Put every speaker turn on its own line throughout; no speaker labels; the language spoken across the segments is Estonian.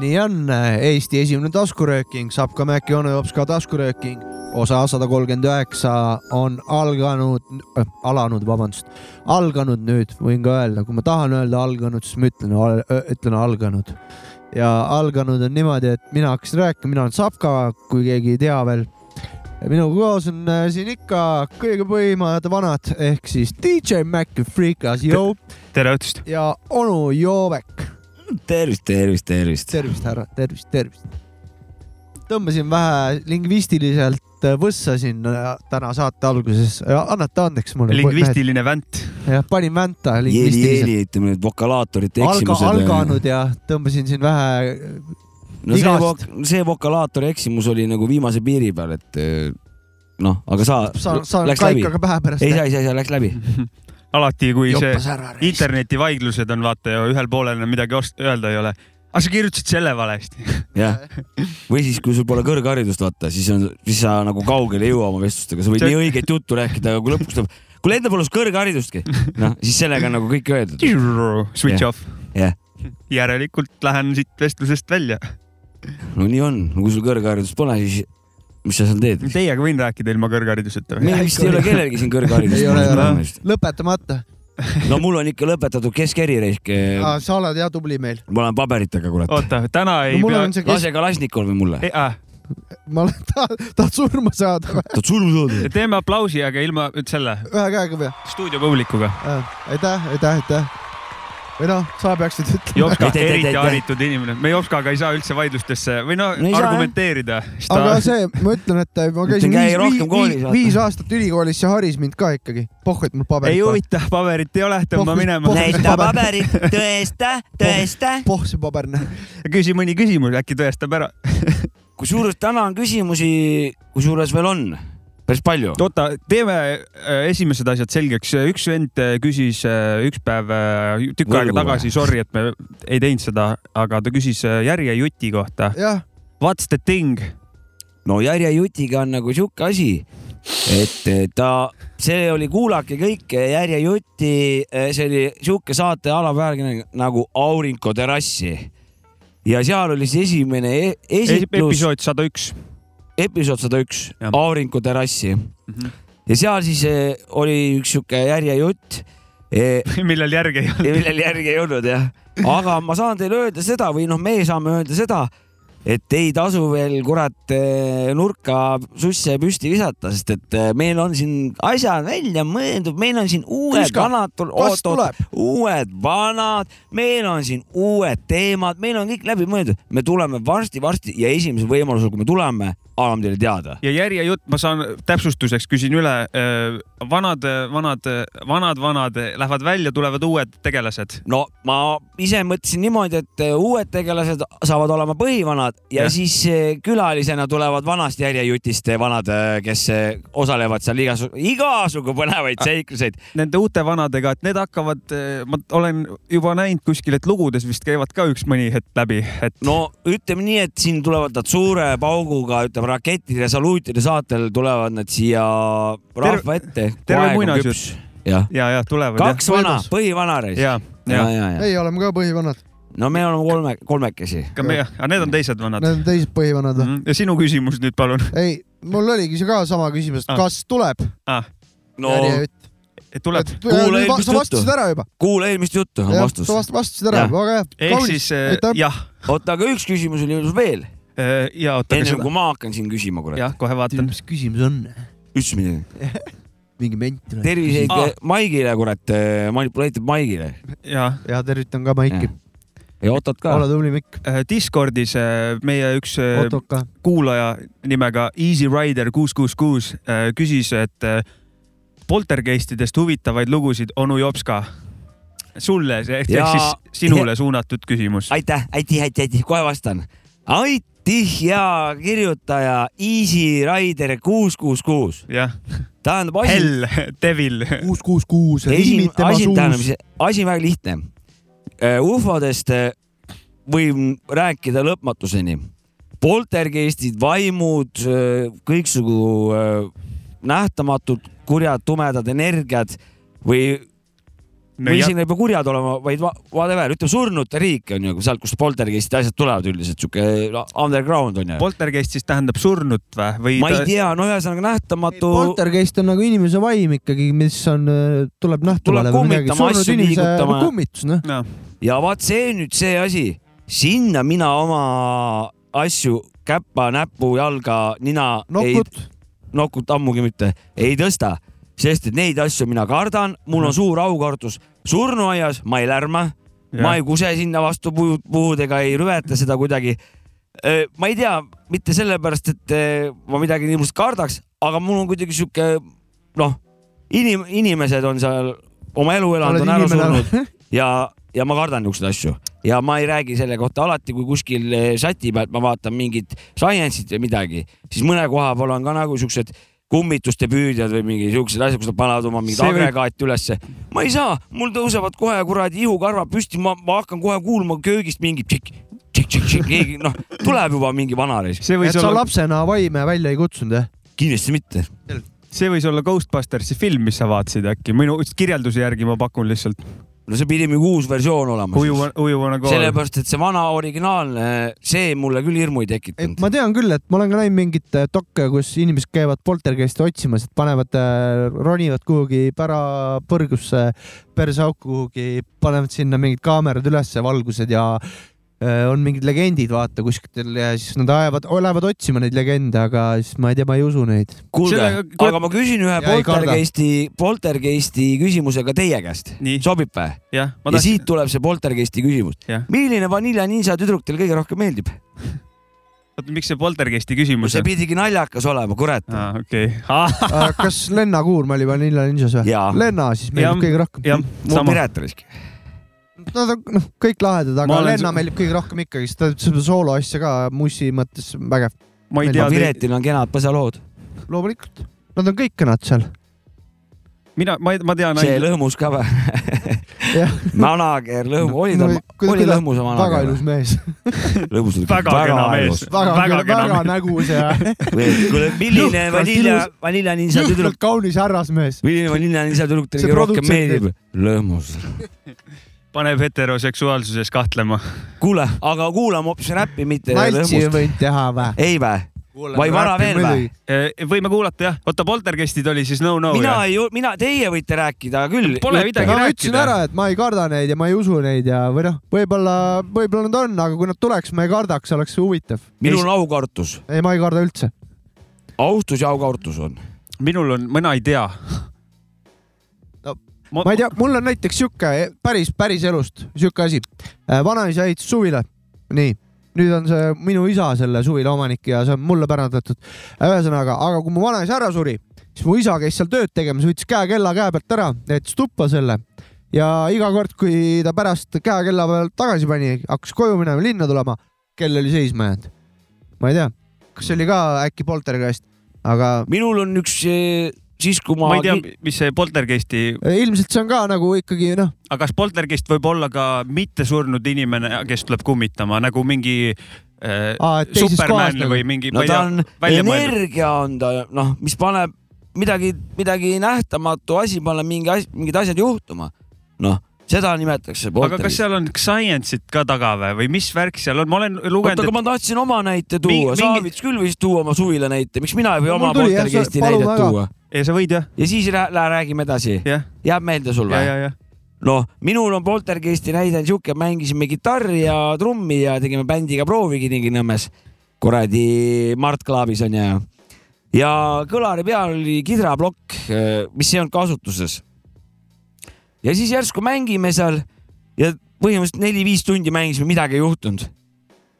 nii on , Eesti esimene taskurööking , Sapka Mäki onu jops ka taskurööking , osa sada kolmkümmend üheksa on alganud äh, , alanud , vabandust , alganud nüüd , võin ka öelda , kui ma tahan öelda alganud , siis ma ütlen , ütlen alganud . ja alganud on niimoodi , et mina hakkasin rääkima , mina olen Sapka , kui keegi ei tea veel . minuga koos on äh, siin ikka kõige põhimad vanad ehk siis DJ Mac ja Freekas Joe
tere õhtust .
ja onu Joovek .
tervist , tervist , tervist .
tervist , härra , tervist , tervist . tõmbasin vähe lingvistiliselt äh, võssa siin täna saate alguses , annate andeks mulle .
lingvistiline vänt .
jah , panin vänta
jeeli ,
lingvistiliselt .
jeeli , ütleme need vokalaatorite
Alga,
eksimused .
alganud ja tõmbasin siin vähe ,
no see
igast.
vok- , see vokalaatori eksimus oli nagu viimase piiri peal , et eh, noh , aga sa ,
saan , saan
läks läbi .
kaikaga pähe pärast
ei , sai , sai , sai , läks läbi .
alati , kui see
joppas ära .
internetivaidlused on , vaata ju ühel poolel enam midagi os- öelda ei ole . aga sa kirjutasid selle valesti .
jah , või siis , kui sul pole kõrgharidust , vaata , siis on , siis sa nagu kaugele ei jõua oma vestlustega , sa võid
See-
nii õiget juttu rääkida , aga kui lõpuks tuleb , kuule endal pole sul kõrgharidustki , noh , siis sellega on nagu kõik öeldud .
Switch
Jah.
off .
Jah.
järelikult lähen siit vestlusest välja .
no nii on , kui sul kõrgharidust pole , siis mis sa seal teed ?
Teiega võin rääkida ilma kõrghariduseta või ?
meil vist ei ole kellelgi siin kõrgharidust .
Ei ole, ei ole.
ole .
lõpetamata .
no mul on ikka lõpetatud keskerireik ,
sa oled hea tubli meil .
ma olen paberitega , kurat .
oota , täna ei
mul
pea
on . see kes- ,
lase Kalašnikov või mulle .
Ah,
ma olen , tahad surma saada või ?
tahad surma saada ?
teeme aplausi , aga ilma nüüd selle
ühe käega või ?
stuudio publikuga .
Äh, aitäh , aitäh , aitäh . või noh , sa peaksid ütlema .
Jopska
Ei, , ei, ei, ei,
eriti
ei.
haritud inimene , me Jopskaga ei saa üldse vaidlustesse või no
No ei saa, jah.
argumenteerida , sest ta
aga see , ma ütlen , et äh, ma käisin
käi
viis,
rohkem
viis,
koolis,
viis,
vaata.
viis aastat ülikoolis , see haris mind ka ikkagi . pohh , et mul paberit
ei huvita , paberit ei ole , tõmba
Pohvis-
minema
pohvis- .
näita paberit , tõesta , tõesta .
pohh , see paber näeb .
küsi mõni küsimus , äkki tõestab ära .
kusjuures täna on küsimusi , kusjuures veel on päris palju .
oota , teeme äh, esimesed asjad selgeks . üks vend äh, küsis äh, üks päev äh, tükk aega
Võrgu
tagasi , sorry , et me ei teinud seda , aga ta küsis äh, järjejuti kohta .
jah ,
What's the thing ?
no järjejutiga on nagu sihuke asi , et ta , see oli , kuulake kõike järjejutti , see oli sihuke saate alaväärne nagu Aurinko terrassi . ja seal oli siis esimene e- esitlus ,
episood sada üks .
episood sada üks ,
Jah.
Aurinko terrassi
Mhm.
ja seal siis eh, oli üks sihuke järjejutt eh,
millel järge ei olnud .
ja millel järgi ei olnud jah . aga ma saan teile öelda seda või noh , meie saame öelda seda , et ei tasu veel kurat eh, nurka susse püsti visata , sest et eh, meil on siin asjad välja mõeldud , meil on siin uued
Kuska,
vanad ,
kas
oot-oot ,
tuleb ?
uued vanad , meil on siin uued teemad , meil on kõik läbi mõeldud , me tuleme varsti-varsti ja esimesel võimalusel , kui me tuleme , anname teile teada .
ja järjejutt , ma saan täpsustuseks , küsin üle . vanad , vanad , vanad , vanad lähevad välja , tulevad uued tegelased .
no ma ise mõtlesin niimoodi , et eh, uued tegelased saavad olema põhivanad ja, ja.
Jah.
siis eh, külalisena tulevad vanast järjejutist eh, vanad , kes eh, osalevad seal igasugu , igasugu põnevaid seikluseid .
Nende uute vanadega , et need hakkavad , ma olen juba näinud kuskil , et lugudes vist käivad ka üks mõni hetk läbi , et
no ütleme nii , et siin tulevad nad suure pauguga , ütleme rakettide ja saluutide saatel tulevad nad siia rahva ette .
terve muinasjutt. .
jah ,
ja , ja tulevad
kaks vana
Võimas. ,
põhivana
jah .
reis . ja ,
ja , ja, ja. ,
ja , ja
ei , oleme ka põhivanad ,
no me oleme kolme , kolmekesi .
ka meie , aga need on teised vanad .
need on teised põhivanad või ?
ja sinu küsimus nüüd palun
ei , mul oligi see ka sama küsimus , et
Ah.
kas tuleb
ah, .
no
järjejutt ?
tuleb ,
Kuule eelmist
sa vastasid
juttu.
ära juba .
kuule eelmist juttu on
jah ,
vastus
sa . vast- vastasid ära
Jah.
juba , väga hea .
ehk siis äh,
aitäh.
jah ,
oota , aga üks küsimus oli mul veel ,
ja oota ,
enne
kas
kui ma hakkan siin küsima , kurat .
jah , kohe vaatan .
mis küsimus on ?
üks minut .
mingi ment tuleb .
terviseid
Ah.
ah. Maigile , kurat , manipuleeritud Maigile
ja
ja tervitan ka Maiki ,
ja Otot ka .
ole tubli Mikk ,
äh, Discordis äh, meie üks äh,
Otto ka .
kuulaja nimega Easy Rider kuus kuus kuus küsis , et äh, poltergeistidest huvitavaid lugusid onu Jopska . sulle , ehk
Ja-
siis sinule suunatud küsimus .
aitäh , aitäh , aitäh , aitäh , kohe vastan . aitäh , tihja kirjutaja Easy Rider kuus kuus kuus ,
jah ,
tähendab asi ,
hell , devil ,
kuus , kuus , kuus ,
asi
riimid , tema
asi tähendab
suus .,
asi on väga lihtne . ufodest äh, võin rääkida lõpmatuseni . poltergeistid , vaimud , kõiksugu äh, nähtamatud kurjad , tumedad energiad või
no
või
jah ,
isegi juba kurjad olema , vaid va- whatever , ütleme surnute riik on ju , sealt , kust poltergeistid asjad tulevad üldiselt , sihuke underground on ju .
poltergeist siis tähendab surnut või , või
ma ei
ta
tea , no ühesõnaga nähtamatu ,
poltergeist on nagu inimese vaim ikkagi , mis on , tuleb nähtavale
Tuleb kummitama, asju liigutama.
kummitus , noh .
no, ,
ja vaat see nüüd see asi , sinna mina oma asju , käpa , näpu , jalga , nina ei
nokut ,
nokut ammugi mitte ei tõsta , sest et neid asju mina kardan , mul on suur aukartus . surnuaias ma ei lärma ,
Jah.
ma ei kuse sinna vastu puhud , puhud ega ei rüveta seda kuidagi . ma ei tea , mitte sellepärast , et eh, ma midagi niisugust kardaks , aga mul on kuidagi sihuke noh , inim- , inimesed on seal oma elu elanud , on ära surnud .
Hm?
ja , ja ma kardan niisuguseid asju ja ma ei räägi selle kohta alati , kui kuskil eh, sati pealt ma vaatan mingit science'it või midagi , siis mõne koha peal on ka nagu siuksed kummituste püüdjad või mingi siuksed asjad , kus nad panevad oma mingit
See võib-
agregaati ülesse . ma ei saa , mul tõusevad kohe kuradi ihukarvad püsti , ma , ma hakkan kohe kuulma köögist mingit tšikk , tšikk , tšikk , tšikk , keegi noh , tuleb juba mingi vanareis ,
see
et
võis
sa
olla ,
lapsena vaime välja ei kutsunud , jah ?
kindlasti mitte .
see võis olla Ghostbustersi film , mis sa vaatasid äkki , minu kirjelduse järgi ma pakun lihtsalt .
no see pidi mingi uus versioon olema siis
ujuva , ujuvana kool .
sellepärast , et see vana originaalne , see mulle küll hirmu ei tekitanud .
ma tean küll , et ma olen ka näinud mingeid eh, dokke , kus inimesed käivad poltergeiste otsimas , et panevad , ronivad kuhugi pära põrgusse , perseauku kuhugi , panevad sinna mingid kaamerad ülesse , valgused ja eh, on mingid legendid , vaata kuskil ja siis nad ajavad , lähevad otsima neid legende , aga siis ma ei tea , ma ei usu neid .
kuulge
Sellega- , kuule-
aga ma küsin ühe
Ja ei karda.
poltergeisti , poltergeisti küsimuse ka teie käest .
Nii.
sobib või ?
jah , ma
ja
tahtsin
siit , tuleb see poltergeisti küsimus
Jah. .
milline Vanilla Ninja tüdruk teile kõige rohkem meeldib ?
oota , miks see poltergeisti
no
küsimus
see
on ?
pidigi naljakas olema , kurat .
aa , okei okay. .
Äh, kas Lenna Kuurma oli Vanilla Ninjas või ?
jaa ,
Lenna siis
Jah.
meeldib kõige rohkem .
jah ,
mu
sama .
Piret risk .
Nad on noh , kõik lahedad ,
Ma
aga
olen
Lenna
su-
meeldib kõige rohkem ikkagi , sest ta teeb seda sooloasja ka mussi mõttes vägev ,
ma ei
Meil
tea
on ,
Piretil on kenad põsalood ,
loomulikult . Nad on kõik kõnad seal .
mina , ma , ma tean
see
ainult ,
lõhmus ka või ?
jah ,
manager lõhmu , oli ta , oli lõhmus
väga
manager
ilus ? mees ,
lõhmus oli
Väga kena mees.
ilus.
väga ,
Väga
väga,
kena
väga
mees.
nägus ja
kuule , milline
Jõhkralt
Vanilla
ilus. ,
Vanilla Ninja tüdruk
jõhkralt kaunis härrasmees .
milline Vanilla Ninja tüdruk teile
See
kõige rohkem
produtsent
meeldib ? lõhmus .
paneb heteroseksuaalsuses kahtlema .
kuule , aga kuulame hoopis räppi , mitte
naltsi ei
lõhmust .
võinud teha või ?
ei vä ? Vai vara veel vä ??
võime kuulata jah , oota , poltergeistid oli siis no-no
mina
jah ?
ei , mina , teie võite rääkida küll .
Pole midagi.
no ma
rääkida.
ütlesin ära , et ma ei karda neid ja ma ei usu neid ja või noh , võib-olla , võib-olla nad on , aga kui nad tuleks , ma ei kardaks , oleks huvitav .
minul on aukartus ,
ei , ma ei karda üldse .
austus ja aukartus on .
minul on , mina ei tea
No, .
ma
ma ei tea , mul on näiteks sihuke päris , päris elust sihuke asi . vanaisa ehitas suvila . nii , nüüd on see minu isa selle suvila omanik ja see on mulle pärandatud . ühesõnaga , aga kui mu vanaisa ära suri , siis mu isa käis seal tööd tegemas , võttis käekella käe pealt ära , jättis tuppa selle ja iga kord , kui ta pärast käekella pealt tagasi pani , hakkas koju minema , linna tulema , kell oli seisma jäänud . ma ei tea , kas see oli ka äkki poltergeist , aga
minul on üks , siis kui ma,
ma ei tea , mis see poltergeisti ,
ilmselt see on ka nagu ikkagi noh ,
aga kas poltergeist võib olla ka mittesurnud inimene , kes tuleb kummitama nagu mingi äh,
Aa, et teises kohas
Superman
nagu.
või mingi ,
no
ma ei
ta
tea ,
on ,
välja mõeldud.
energia on ta , noh , mis paneb midagi , midagi nähtamatu asi , paneb mingi asi , mingid asjad juhtuma . noh , seda nimetatakse
aga kas
polteriks .
seal on science'it ka taga või , või mis värk seal on , ma olen
oota ,
lugenud ,
aga
et
ma tahtsin oma näite
Mingi-
tuua ,
mingi-
Saavits küll võis tuua oma suvila näite , miks mina ei või
Mul
oma
tuli, jah, sa-
poltergeisti
palun
näidet
väga.
tuua
ja sa võid jah ,
ja siis rää- lähe räägime edasi ,
jah ,
jääb meelde sul
ja ,
või ?
ja , ja
noh , minul on poltergeisti näide on siuke , mängisime kitarri ja trummi ja tegime bändiga proovi Kilingi-Nõmmes . kuradi Mart Klaavis on ju . ja kõlari peal oli kidraplokk , mis ei olnud kasutuses . ja siis järsku mängime seal ja põhimõtteliselt neli-viis tundi mängisime , midagi ei juhtunud .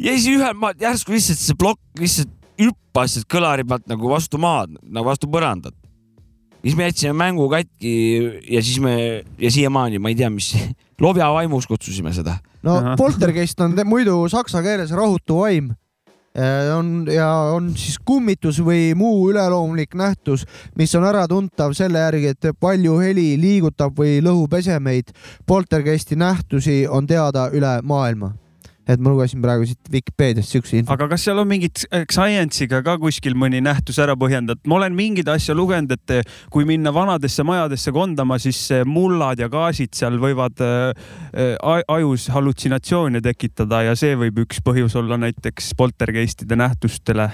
ja siis ühel maal järsku lihtsalt see plokk lihtsalt hüppas sealt kõlari pealt nagu vastu maad , nagu vastu põrandat . siis me jätsime mängu katki ja siis me ja siiamaani ma ei tea , mis lobja vaimus kutsusime seda .
no
Ahah.
poltergeist on te- muidu saksa keeles rahutu vaim . on ja on siis kummitus või muu üleloomulik nähtus , mis on äratuntav selle järgi , et palju heli liigutab või lõhub esemeid . poltergeisti nähtusi on teada üle maailma . et ma lugesin praegu siit Vikipeediast siukse info .
aga kas seal on mingit eh, science'iga ka kuskil mõni nähtus ära põhjendatud ? ma olen mingeid asju lugenud , et eh, kui minna vanadesse majadesse kondama , siis eh, mullad ja gaasid seal võivad äh, äh, ajus hallutsinatsioone tekitada ja see võib üks põhjus olla näiteks poltergeistide nähtustele .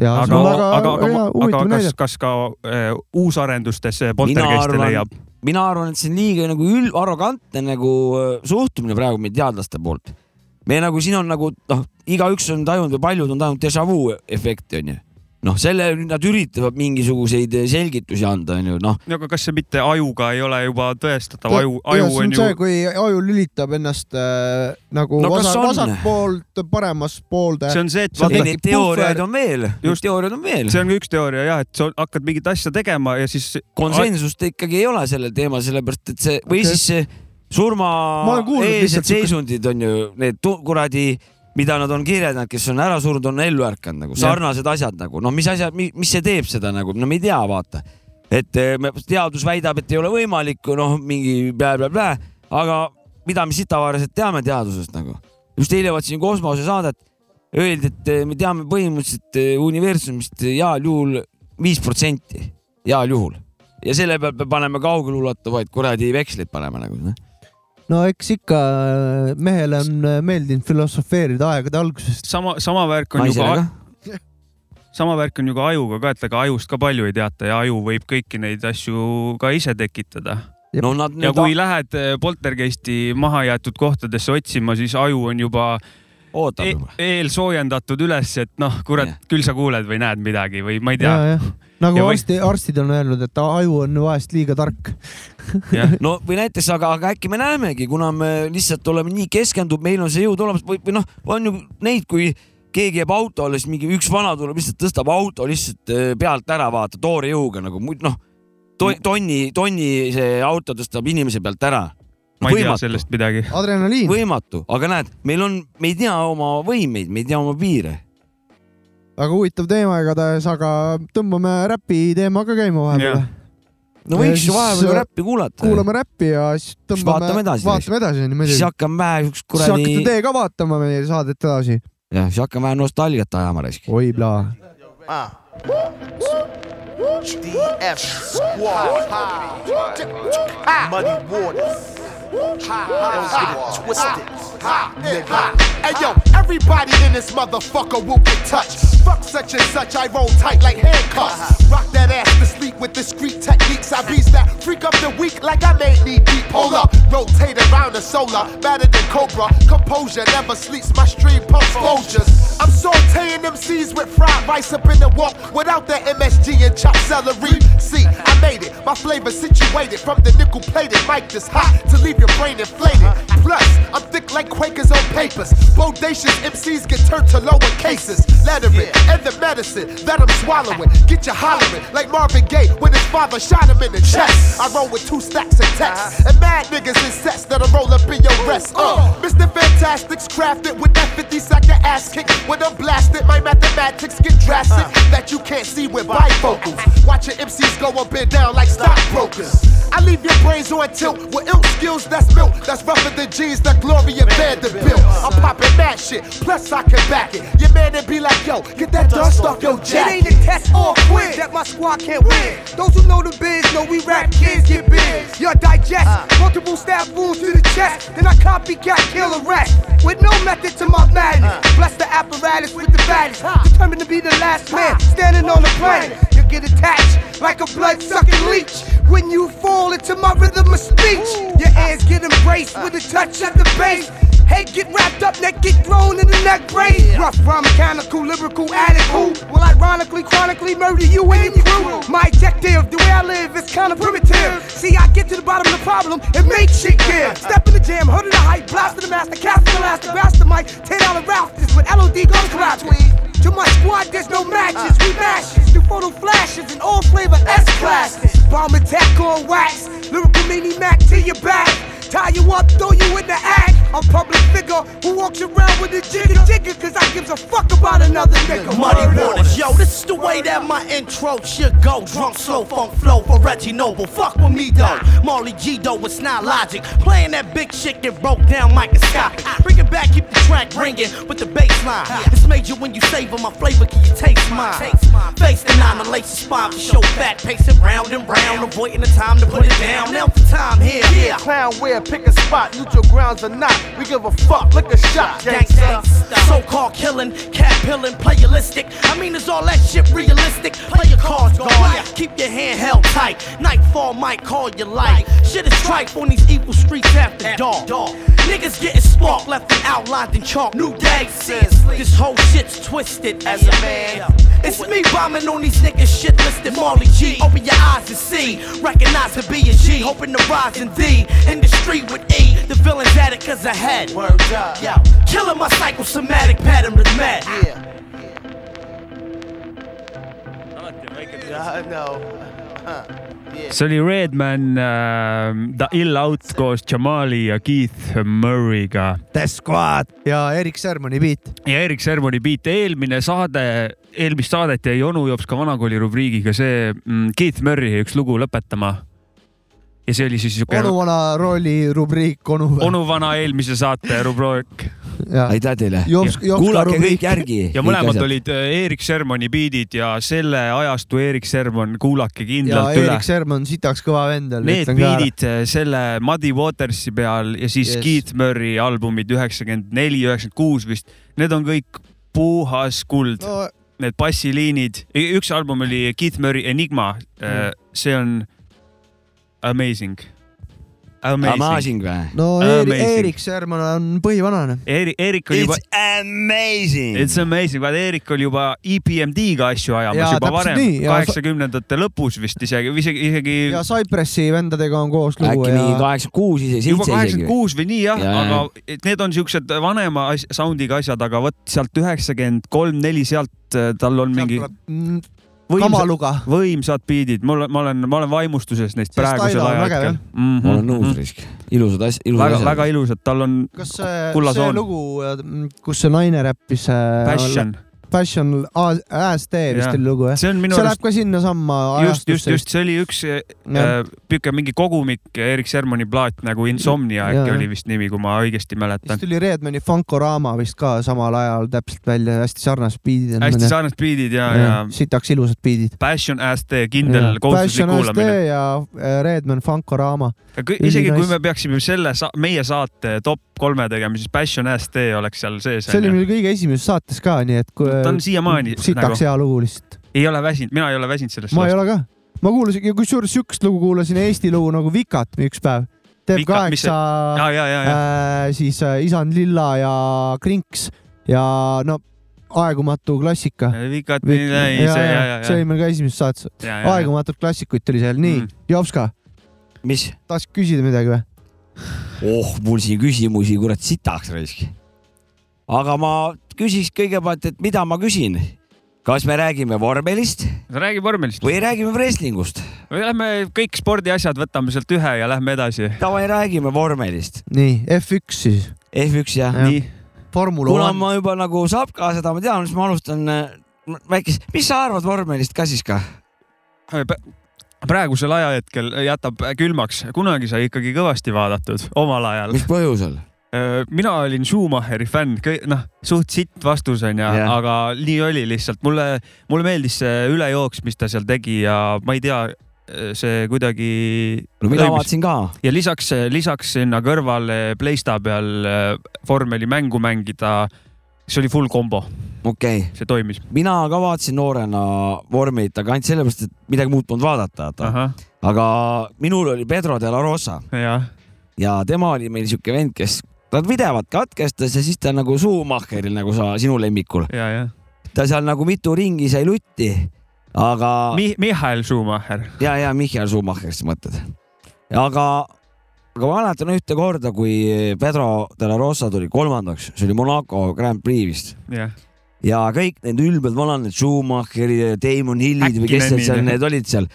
ja see
aga ,
on
aga , aga,
väga hea
aga,
huvitav
aga kas
näide ,.
kas ka äh, uusarendustes
Mina
poltergeiste
arvan-
leiab ?
mina arvan , et see on liiga nagu üld- , arrogantne nagu äh, suhtumine praegu meie teadlaste poolt . me nagu siin on nagu noh , igaüks on tajunud või paljud on tajunud déjà vu efekti onju . noh , selle nüüd nad üritavad mingisuguseid eh, selgitusi anda onju , noh
no aga kas see mitte ajuga ei ole juba tõestatav , nagu aju ,
ja
aju
see on
on ju
see , kui aju lülitab ennast äh, nagu
No
no,
kas
vasak ,
on?
vasakpoolt paremas poolde
see . on see , et
See on
vaata
ei ,
Vaata,
neid teooriaid
puhver-
on veel , neid
Just.
teooriaid on veel .
see on ka üks teooria jah , et sa hakkad mingit asja tegema ja siis
konsensust ikkagi ei ole sellel teemal , sellepärast et see või
Okei.
okay. siis see surma
Ma olen kuulnud
eelsed
lihtsalt siukest-
seisundid on ju need tu- kuradi , mida nad on kirjeldanud , kes on ära surnud , on ellu ärkanud nagu sarnased asjad nagu no mis asjad , mis see teeb seda nagu , no me ei tea , vaata , et eh, me- teadus väidab , et ei ole võimalik , noh , mingi blä-blä-blä , aga mida me sitavaarlased teame teadusest nagu , just eile vaatasin kosmosesaadet , öeldi , et eh, me teame põhimõtteliselt eh, universumist heal juhul viis protsenti , heal juhul ja selle pealt me paneme kaugeleulatuvaid kuradi veksleid paneme nagu .
no eks ikka äh, mehele on äh, meeldinud filosofeerida aegade algusest .
sama , sama värk on ju
naisele
ka
ka .,
sama värk on ju ka ajuga ka , et ega ajust ka palju ei teata ja aju võib kõiki neid asju ka ise tekitada .
Jep.
no nad
ja
nüüd
kui lähed eh, poltergeisti mahajäetud kohtadesse otsima , siis aju on juba
ootab
e
juba .
eelsoojendatud üles , et noh , kurat
Jah. ,
küll sa kuuled või näed midagi või ma ei tea .
nagu
Ja
ja
või-
arsti , arstid on öelnud , et aju on vahest liiga tark .
no või näiteks , aga , aga äkki me näemegi , kuna me lihtsalt oleme nii keskendunud , meil on see jõud olemas või , või noh , on ju neid , kui keegi jääb auto alles , mingi üks vana tuleb lihtsalt tõstab auto lihtsalt eh, pealt ära , vaata toore jõuga nagu muid noh , tonni , tonni see auto tõstab inimese pealt ära .
ma ei tea sellest midagi .
adrenaliin Või... ,
võimatu , aga näed , meil on , me ei tea oma võimeid , me ei tea oma piire .
väga huvitav teema igatahes , aga tõmbame räpi teema ka käima vahepeal
Jah. .
no
Ja
võiks ju
siis,
vahepeal
äh,
ju räppi kuulata .
kuulame räppi ja siis tõmbame .
vaatame edasi
vaatame edasi , on ju
siis
muidugi .
hakkame vähe siukest
siis hakkate
kuradi ,
teie ka vaatama meie saadet edasi .
jah , siis hakkame vähe nostalgiat ajama raisk .
oi plaa .
Uh. DF Squad. Ha. Muddy Waters. Don't get it twisted. Nigga.
eh, Hey yo, everybody in this motherfucker will get touched. Fuck such and such, I roll tight like handcuffs. Rock that ass to sleep with discreet techniques. I beast that freak up the weak like I made knee deep. Hold up, rotate around the solar, better than Cobra. Composure never sleeps, my stream pumps closures. I'm sauteing them seeds with fried rice up in the wok without the MSG and chopped celery. See, I made it, my flavor situated from the nickel plated mic that's hot to leave your brain inflated. Plus, I'm thick like Quakers on papers. Bodacious MCs get turned to lower cases. Lettering and the medicine that I'm swallowing. Get you hollering like Marvin Gaye when his father shot him in the chest. I roll with two stacks of text and mad niggas in sets that'll roll up in your rest. Uh, Mr. Fantastic's crafted with that 50 second ass kick. When I'm blasted, my mathematics get drastic that you can't see with bifocals. Watch your MCs go up and down like stockbrokers. I leave your brains on tilt with ill skills that's built. That's rougher than jeans that Gloria Vanderbilt. I'm popping that shit, plus I can back it. Your man and be like, yo, get that dust off your
It
jacket.
ain't a test or a quiz that my squad can't win. Those who know the biz know we rap kids get biz. Your digest, multiple stab wounds to the chest. Then I copycat kill a rat with no method to my madness. Bless the apparatus with the baddest. Determined to be the last man standing on the planet. You get attached like a blood sucking leech when you fall into my rhythm of speech. Your ears get embraced with a touch of the bass. Head get wrapped up, neck get thrown in the neck brace. Rough, raw, mechanical, lyrical, addict who will ironically, chronically murder you and your crew. My objective, the way I live, is kinda primitive. See, I get to the bottom of the problem and make shit give. Step in the jam, hood of the hype, blast to the master, cast the last, blast the mic, ten dollar Ralph, this with LOD gun collapse. To my squad, there's no matches. We matches through photo flashes and all flavor S classes. Bomb attack on wax, lyrical mini Mac to your back. Tie you up, throw you in the act. I'm public figure who walks around with a jigger jigger cause I gives a fuck about another nigga.
Muddy
Word up.
waters, yo, this is the way that my intro should go. Drunk, slow, funk, flow for Reggie Noble. Fuck with me though. Marley G though, it's not logic. Playing that big shit that broke down microscopic. Bring it back, keep the track ringing with the bass line. It's major when you savor my flavor, can you taste mine? Face the nine, the lace the spine, show fat, pace it round and round, avoiding the time to put it down. Now's the time here. Yeah.
Clown wear, pick a spot, neutral grounds or not. We give a fuck, lick a shot, gangsta.
So called killing, cat peeling, playalistic. I mean, is all that shit realistic? Play your cards, guard. Keep your hand held tight. Nightfall might call your life. Shit is tripe on these evil streets after dark. Niggas getting sparked, left and outlined in chalk. New day says this whole shit's twisted as a man. It's me bombing on these niggas shit listed Marley G. Open your eyes and see. Recognize the B and G. Hoping to rise in D. Industry with E. The villain's at it cause ahead.
Word up.
Yo, killing my psychosomatic pattern with mad.
Yeah,
Yeah.
I know.
see oli Redman äh, The Ill Out koos Jamali ja Keith Murray'ga
The Squad ja Erik Sermoni beat .
ja Erik Sermoni beat , eelmine saade , eelmist saadet jäi onu jops ka vanakooli rubriigiga see mm, Keith Murray üks lugu lõpetama . ja see oli siis siuke
onu vana rolli rubriik onu .
onu vana eelmise saate rubriik
aitäh teile .
Jops- Jopska
kuulake
rubriik.
kõik järgi .
ja mõlemad . olid äh, Erik Sermoni beat'id ja selle ajastu Erik Sermon , kuulake
ja
kindlalt üle
Erik . Sermon sitaks kõva vend oli .
Need beat'id äh, selle Muddy Watersi peal ja
Yes.
siis yes. Keith Murray albumid üheksakümmend neli , üheksakümmend kuus vist , need on kõik puhas kuld no. .
no
Need bassiliinid , üks album oli Keith Murray Enigma mm. , see on amazing . Amazing .
Amazing või ?
no Eeri,
Amazing.
Erik Särman on põhivanane .
Erik , Erik oli juba
It's , amazing .
it's amazing , vaata Erik oli juba E EPMD-ga asju
Jaa,
ajamas juba
täpselt
varem
nii, , jaa.
kaheksakümnendate lõpus vist isegi , isegi , isegi
ja Cypressi vendadega on koos lugu
äkki mingi
ja
kaheksakümmend kuus , ise
juba
seitse
kaheksakümmend
isegi .
kuus või nii jah ja,
Jaa, , jaa.
aga et need on siuksed äh, vanema as- sound'iga asjad , aga vot sealt üheksakümmend kolm , neli , sealt äh, tal on mingi
mingi
võimsad ,
Mm, kamaluga .
võimsad beat'id , mul , ma olen , ma olen vaimustuses neist
See
praegusel
stail on vägev,
ajahetkel Mhm.
jah. .
ma olen nõus , Risk . ilusad asjad , ilusad
väga ,
asjad .
väga ilusad , tal on
kas see,
Kulla
see
soon.
lugu , äh, kus see naine räppis ?
passion ,
Passion , ASD vist
Jah.
oli lugu jah ?
see on minu
see läheb
arust
ka sinnasamma
just , just ,
ajastusse .
just see oli üks äh,
Jah.
niisugune mingi kogumik äh, Erik Sermoni plaat nagu Insomnia
Jaa,
äkki
jah.
oli vist nimi , kui ma õigesti
siis
mäletan .
tuli Redmani Funkorama vist ka samal ajal täpselt välja , hästi sarnased beat'id .
hästi sarnased beat'id ja , ja
ja sitaks ilusad beat'id .
Passion AST , kindel kohustuslik kuulamine .
ja äh, Redman Funkorama .
Ja kõ- isegi kui
Ülinais-
me peaksime selle , meie saate top kolme tegema , siis Passion ST oleks seal sees .
see oli meil kõige esimeses saates ka , nii et kui äh,
ta on siiamaani nagu
sitaks , hea lugu lihtsalt .
ei ole väsinud , mina ei ole väsinud sellest .
ma ei ole ka . ma kuulasin , kusjuures sihukest lugu kuulasin , Eesti lugu nagu Vikat üks päev . teeb
Vikat, mis see-
kaheksa ,
ja , ja , ja , ja
äh, siis äh, Isand Lilla ja Krinks ja no aegumatu klassika .
Vikat , nii , ei , see , ja , ja ,
see oli meil ka esimeses saates ,
ja .
aegumatut klassikuid tuli seal , nii
Mm.
mm. , Jopska ,
mis ?
tahtsid küsida midagi või ?
oh , mul siin küsimusi , kurat , sitaks raisk . aga ma küsiks kõigepealt , et mida ma küsin . kas me räägime vormelist
räägi vormelist .
või räägime wrestlingust ?
Lähme kõik spordiasjad , võtame sealt ühe ja lähme edasi .
davai , räägime vormelist .
nii , F1 siis ,
F1 jah
Jah.
ja. .
nii ,
Formula
kuna
One ma... ,
ma juba nagu saab ka seda , ma tean , siis ma alustan äh, väikest , mis sa arvad vormelist ka siis ka ?
praegusel ajahetkel jätab külmaks , kunagi sai ikkagi kõvasti vaadatud , omal ajal .
mis põhjusel ?
mina olin Schumacheri fänn , noh , suht sitt vastus onju yeah. ,
Jah.
aga nii oli lihtsalt , mulle , mulle meeldis see ülejooks , mis ta seal tegi ja ma ei tea , see kuidagi
no mina
Lõimis.
vaatasin ka .
ja lisaks , lisaks sinna kõrvale Playsta peal äh, vormelimängu mängida , see oli full combo ,
okei okay. ,
see toimis .
mina ka vaatasin noorena vormelit , aga ainult sellepärast , et midagi muud polnud vaadata , vaata .
ahah ,
aga minul oli Pedro de la Rosa
jah ,
ja tema oli meil siuke vend , kes ta pidevalt katkestas ja siis ta nagu Schumacheril nagu sa , sinu lemmikul ,
ja , ja .
ta seal nagu mitu ringi sai lutti , aga Mi
Mi- , Mihhail Schumacher ,
ja , ja Michael Schumacherist mõtled . aga , aga ma mäletan ühte korda , kui Pedro de la Rosa tuli kolmandaks , see oli Monaco Grand Prix vist
jah .
ja kõik need ülbed vanad , need Schumacheri ja Damon Hillid või
Äkki
kes need
need
seal
nii-
need olid seal ,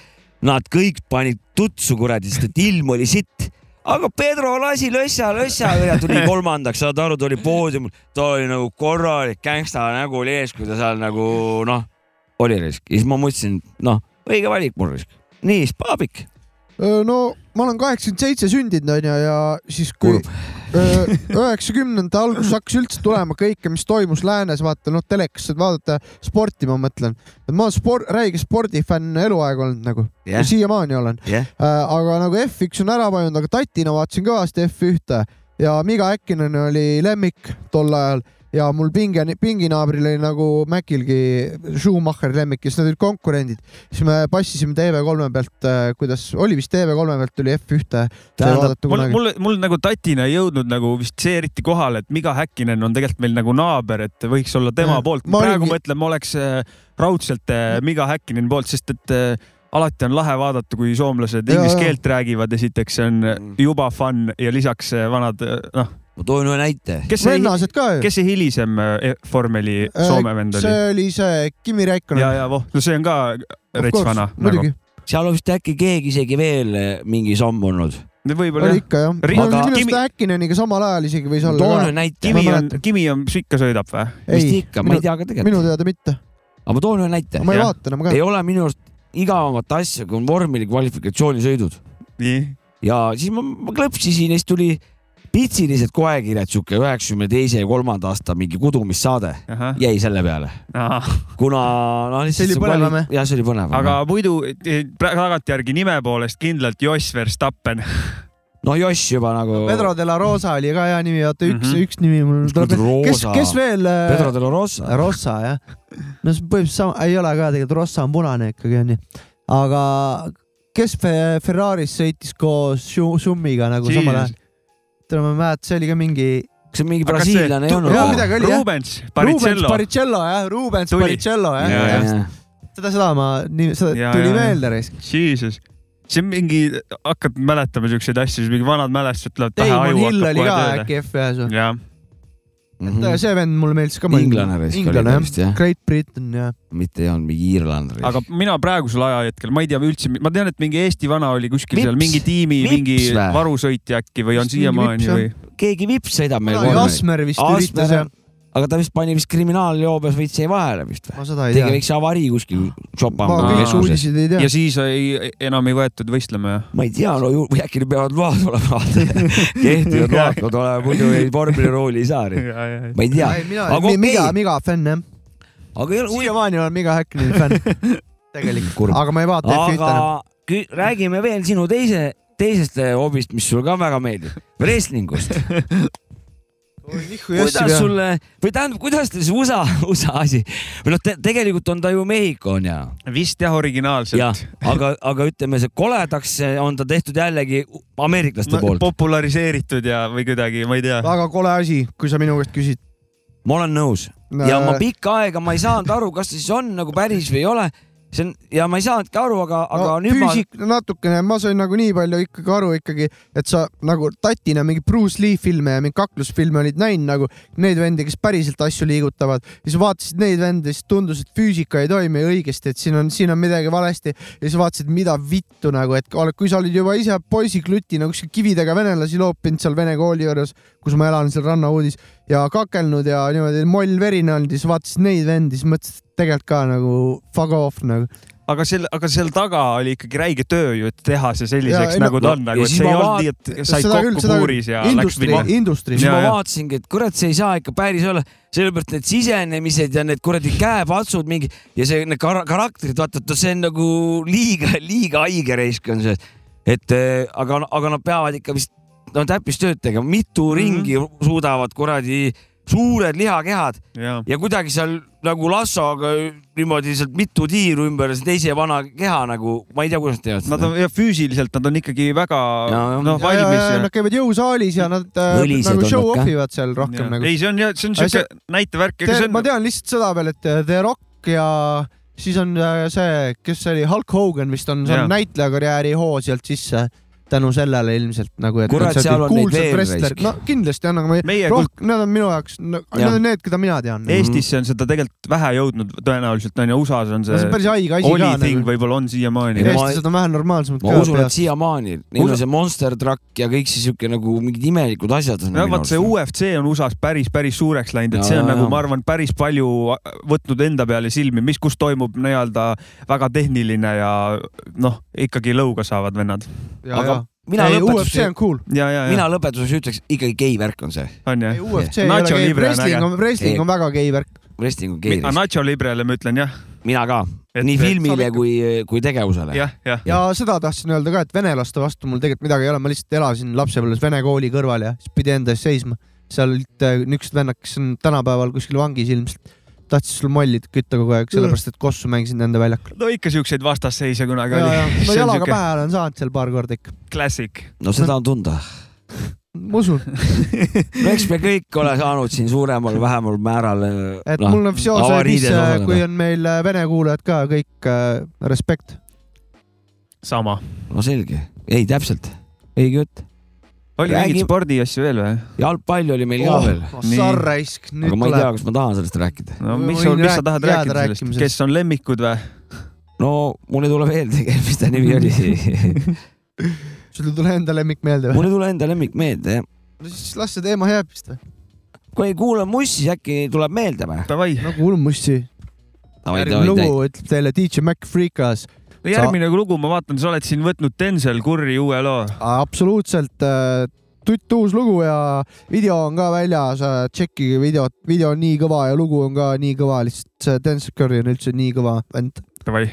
nad kõik panid tutsu kuradi , sest et ilm oli sitt , aga Pedro lasi lössa , lössa , tuli kolmandaks , saad aru , ta oli poodiumil , ta oli nagu korralik gängsta nägu oli ees , kui ta seal nagu noh , oli risk . ja siis ma mõtlesin , noh , õige valik mul risk . nii , Spabik .
no ma olen kaheksakümmend seitse sündinud onju ja siis kui
Kurb.
üheksakümnendate alguses hakkas üldse tulema kõike , mis toimus läänes , vaata noh , telekast saad vaadata sporti , ma mõtlen . ma olen sport , räige spordifänn eluaeg olnud nagu
Jah.
yeah. , siiamaani olen
jah ,
äh, . aga nagu F1 on ära vajunud , aga tatina vaatasin kõvasti F1-e ja Miga Häkkinen oli lemmik tol ajal ja mul pinge , pinginaabril oli nagu Mäkilgi Schumacheri lemmik ja siis nad olid konkurendid . siis me passisime TV3 pealt , kuidas oli vist TV3 pealt tuli F1-e .
Tähendab,
mul , mul , mul nagu tatina ei jõudnud nagu vist see eriti kohale , et Miga Häkkinen on tegelikult meil nagu naaber , et võiks olla tema
Jah,
poolt .
ma
praegu
olingi-
ma ütlen , ma oleks äh, raudselt äh, Miga Häkkinen poolt , sest et äh, alati on lahe vaadata , kui soomlased
Jaa,
inglise
jaa.
keelt räägivad , esiteks see on äh, juba fun ja lisaks äh, vanad , noh ,
Mm. ma toon ühe näite .
kes see ,
vennased ka ju .
kes see hilisem äh, vormeli Soome vend oli ?
see oli see Kimi
ja ,
Räikkonen .
ja voh , Oh, no see on ka rets vana nagu .
muidugi ,
seal on vist äkki keegi isegi veel mingi samm olnud .
võib-olla
oli
jah .
ikka jah .
Ri-
minu
aga-
arust
Kimi-
Häkkineniga samal ajal isegi võis olla
toon
ka
ühe . näite .
Kimi
Ma
on , Kimi on , ikka sõidab või ?
vist
ei ,
ikka , ma ei tea ka tegelikult .
minu teada mitte .
aga ma toon ühe näite .
ma ei
Jah.
vaata enam ka .
ei ole minu arust igavamat asja , kui on vormeli kvalifikatsioonisõidud .
nii ,
ja siis ma, ma klõpsisin ja siis tuli pitsiliselt koekirjad , sihuke üheksakümne teise ja kolmanda aasta mingi kudumissaade
ahah ,
jäi selle peale ,
ahah .
kuna noh , lihtsalt .
See oli põnevam, jah?
jah , see oli põnevam .
aga muidu eh, pra- tagantjärgi nime poolest kindlalt Joss Verstappen .
no Joss juba nagu .
Pedro de la Rosa oli ka hea nimi , vaata üks mm ,
Mhm.
-hmm. üks nimi mul tuleb . kes , kes veel ?
Pedro de la Rosa .
Rossa jah . no see põhimõtteliselt sama , ei ole ka tegelikult , Rossa on punane ikkagi onju . aga kes Fe- Ferraris sõitis koos Schu- Schummiga nagu Jeez. samal ajal ? ütleme , ma ei mäleta , see oli ka mingi .
kas see mingi
Aga kas see-
brasiillane ei
jaa,
olnud ?
midagi oli, jah.
Rubens , Baricello .
Baricello jah , Rubens
Tuli.
Baricello jah
Jaa,
ja, ,
jah.
ja. seda , seda ma , seda
Jaa,
ja, tuli ja,
jaa, jaa.
meelde reis .
Jesus , see on mingi , hakkad mäletama siukseid asju , siis mingi vanad mälestused tulevad pähe ,
Damon
aju
Hill
hakkab
oli
kohe
ka
tööle .
äkki F1-s või ?
jah ,
äh, see vend mulle meeldis ka .
Mhm. Inglane vist oli ta vist, jah.
Great Britain jah .
mitte ei olnud mingi iirlane .
aga mina praegusel ajahetkel , ma ei tea üldse , ma tean , et mingi Eesti vana oli kuskil
Vips.
seal mingi tiimi ,
Vips
mingi
vä?
varusõitja äkki või on
Vist mingi vips
siiamaani
on.
või ?
keegi vips sõidab meil vormeli .
Asmer vist
Asmer-
üritas jah ,
aga ta vist pani vist kriminaaljoobes veits jäi vahele vist või ?
ma seda ei
tegi
tea .
väikse avarii kuskil
ma
Aa.
kõik
Chopin'i
uudiseid ei tea
ja . siis ei , enam ei võetud võistlema jah ?
ma ei tea , no ju- või äkki neil peavad load olema , kehtivad load peavad olema , muidu ei vormelirooli ei saa . ma ei tea ,
ei , mina
Aga
olen Miga
okei. ,
Miga fänn jah .
aga ei ole
siiamaani olen Miga Häkkini fänn . tegelikult ,
kurb .
aga ma ei vaata F1-e
aga
enam .
kü- räägime veel sinu teise , teisest eh, hobist , mis sulle ka väga meeldib , wrestlingust . kuidas sulle või tähendab , kuidas teil see USA , USA asi või noh te, , tegelikult on ta ju Mehhiko on ja ,
vist jah ,
ja
originaalselt .
aga , aga ütleme , see koledaks eh, on ta tehtud jällegi ameeriklaste poolt .
populariseeritud ja , või kuidagi , ma ei tea .
väga kole asi , kui sa minu käest küsid . Äh,
ma olen nõus ja ma pikka aega ma ei saanud aru , kas ta siis on nagu päris või ei ole . see on ja ma ei saanudki aru , aga , aga nüüd füüsik...
füüsik natukene , ma sain nagu nii palju ikkagi aru ikkagi , et sa nagu tatina mingi Bruce Lee filme ja mingi kaklusfilme olid näinud nagu neid vendi , kes päriselt asju liigutavad , siis vaatasid neid vendi , siis tundus , et füüsika ei toimi õigesti , et siin on , siin on midagi valesti ja siis vaatasid , mida vittu nagu , et ole- kui sa olid juba ise poisiklutina kuskil kividega venelasi loopinud seal vene kooli juures , kus ma elan seal Rannauudis ja kakelnud ja niimoodi moll verine olnud ja siis vaatasid neid vendi , siis mõtlesid , et tegelikult ka nagu fuck off nagu .
aga seal , aga seal taga oli ikkagi räige töö ju , et teha see
Jaa,
selliseks ,
ei
nagu
no-
ta on ,
ja
nagu et
siis
see
ma
ei
vaat-
olnud nii , et said
Seda küll,
kokku
seda küll.
puuris ja läks
industry
minema ,.
industry
siis
Ja,
ma
ja.
vaatasingi , et kurat , see ei saa ikka päris olla , sellepärast need sisenemised ja need kuradi käepatsud mingi ja see need kar karakterid , vaata , et see on nagu liiga , liiga haige reisk on see . et eh, aga , aga nad peavad ikka vist , no täppistööd tegema , mitu
Mhm.
mm -hmm. ringi suudavad kuradi suured lihakehad
jaa ,
ja kuidagi seal nagu lassoga niimoodi sealt mitu tiiru ümber see teise vana keha nagu , ma ei tea , kuidas nad teevad
nad on ja füüsiliselt nad on ikkagi väga
Jaa, jah.
noh ,
Ja- ja- ja
valmis ja
Nad käivad jõusaalis ja nad äh,
Õlised
nagu
on
show
nad ka.
off ivad seal rohkem
Jaa.
nagu .
ei , see on jah , see on
Aga
siuke näitevärk , ega
Te,
see
ma
on ,
tean lihtsalt seda veel , et äh, The Rock ja siis on äh, see , kes see oli , Hulk Hogan vist on , see
Jaa.
on näitlejakarjääri hoo sealt sisse tänu sellele ilmselt nagu , et
Kurat,
nad said
seal on neid
kuulsad
veel
wrestlerid.
raisk.
no kindlasti on , aga ma
Meie
ei , rohkem , nad on minu jaoks ,
Jah.
need on need , keda mina
Mhm.
tean .
Eestisse on seda tegelikult vähe jõudnud , tõenäoliselt on ju USA-s on
see on
see
päris haige asi
oli
ka
thing
nagu .
võib-olla on siiamaani .
Ei, ma-
eestlased on vähe normaalsemad
ma usun ,
ka
et . siiamaani , neil on see Monster Truck ja kõik see siuke nagu mingid imelikud asjad on .
no vot see . UFC on USA-s päris , päris suureks läinud , et see on
Jaa,
nagu
jaa.
ma arvan , päris palju võtnud enda peale silmi , mis , kus toimub nii-öelda väga tehniline ja noh , ikkagi lõuga saavad vennad .
aga mina
ei , UFC
lõpetuseks ,
on cool .
ja , ja , ja
mina lõpetuseks ütleks ikkagi gei värk on see ,
on
ei ,
ju .
UFC ei ole
Nacho
gei ,
Libre on
wrestling
äge.
on , wrestling on väga gei värk .
wrestling on gei
aga . Nacho Librele ma ütlen jah ,
mina ka ,
Et-
nii
et
saab
filmile
ikka-
kui , kui tegevusele .
jah , jah .
ja seda tahtsin öelda ka , et venelaste vastu mul tegelikult midagi ei ole , ma lihtsalt elasin lapsepõlves vene kooli kõrval ja siis pidi enda ees seisma . seal olid äh, niisugused vennad , kes on tänapäeval kuskil vangis ilmselt , tahtsid sul molli kütta kogu aeg , sellepärast et kossu mängisid nende väljakul .
no ikka siukseid vastasseise kunagi
ja , ja
oli .
no jalaga pähe olen saanud seal paar korda ikka ,
klassik .
no seda on tunda .
ma usun ,
no eks me kõik ole saanud siin suuremal-vähemal määral . äh, noh,
et mul on seos , kui
kui on .
on meil äh, vene kuulajad ka kõik äh, , respekt .
sama .
no selge , ei täpselt , õige jutt .
oli
Räägi-
mingeid spordiasju veel või ?
jalgpall oli meil ka veel ,
Nii.
Oh, sarraisk , nüüd
aga ma ei tea ,
tuleb .
kas ma tahan sellest rääkida .
no
Ma
mis ,
võin
mis sa
rääk-
tahad
jääda
rääkida sellest ,
rääkimisest.
kes on lemmikud või ?
no mul ei tule meelde , mis ta nimi oli .
sul ei tule enda lemmik meelde või ?
mul ei tule enda lemmik meelde , jah .
no siis las see teema jääb vist või ?
kui ei kuula mussi , siis äkki tuleb meelde või ?
Davai ,
nagu ulmussi . järgmine lugu ütleb teile DJ Mac Freekas .
järgmine lugu , ma vaatan , sa oled siin võtnud Denzel Curry uue loo .
absoluutselt äh, tutt uus lugu ja video on ka väljas , tšekkige videot , video on nii kõva ja lugu on ka nii kõva , lihtsalt see Dance Curry on üldse nii kõva vend .
Davai .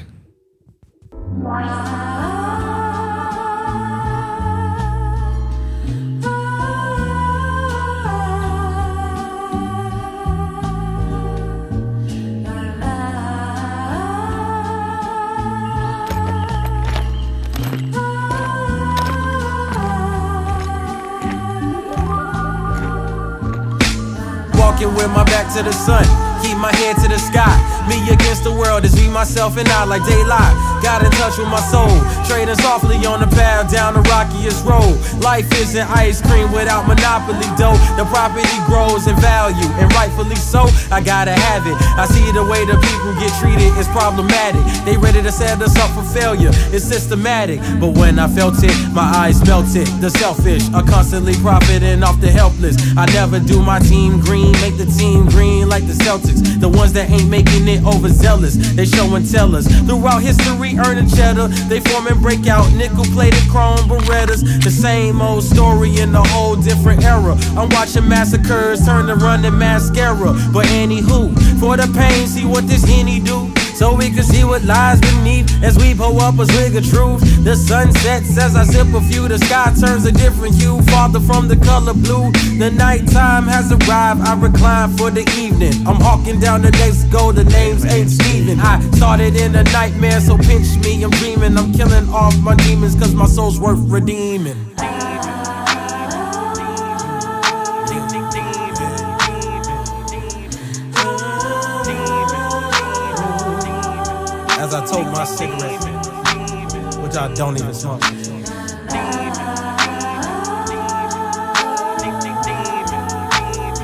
Walking with my back to the sun, keep my head to the sky. Me against the world is me, myself, and I like daylight. Got in touch with my soul, trading softly on the path down the rockiest road. Life isn't ice cream without monopoly dough. The property grows in value, and rightfully so. I gotta have it. I see the way the people get treated is problematic. They ready to set us up for failure. It's systematic, but when I felt it, my eyes melted. The selfish are constantly profiting off the helpless. I never do my team green, make the team green like the Celtics. The ones that ain't making it overzealous, they show and tell us. Throughout history, earning cheddar, they form and break out nickel plated chrome Berettas. The same old story in a whole different era. I'm watching massacres turn to running mascara. But anywho, for the pain, see what this henny do. So we can see what lies beneath as we pull up a swig of truth. The sun sets as I sip a few, the sky turns a different hue, farther from the color blue. The nighttime has arrived, I recline for the evening. I'm hawking down the next goal, the names ain't Steven. I started in a nightmare, so pinch me, I'm dreaming. I'm killing off my demons, cause my soul's worth redeeming. As I told my cigarette, which I don't even smoke.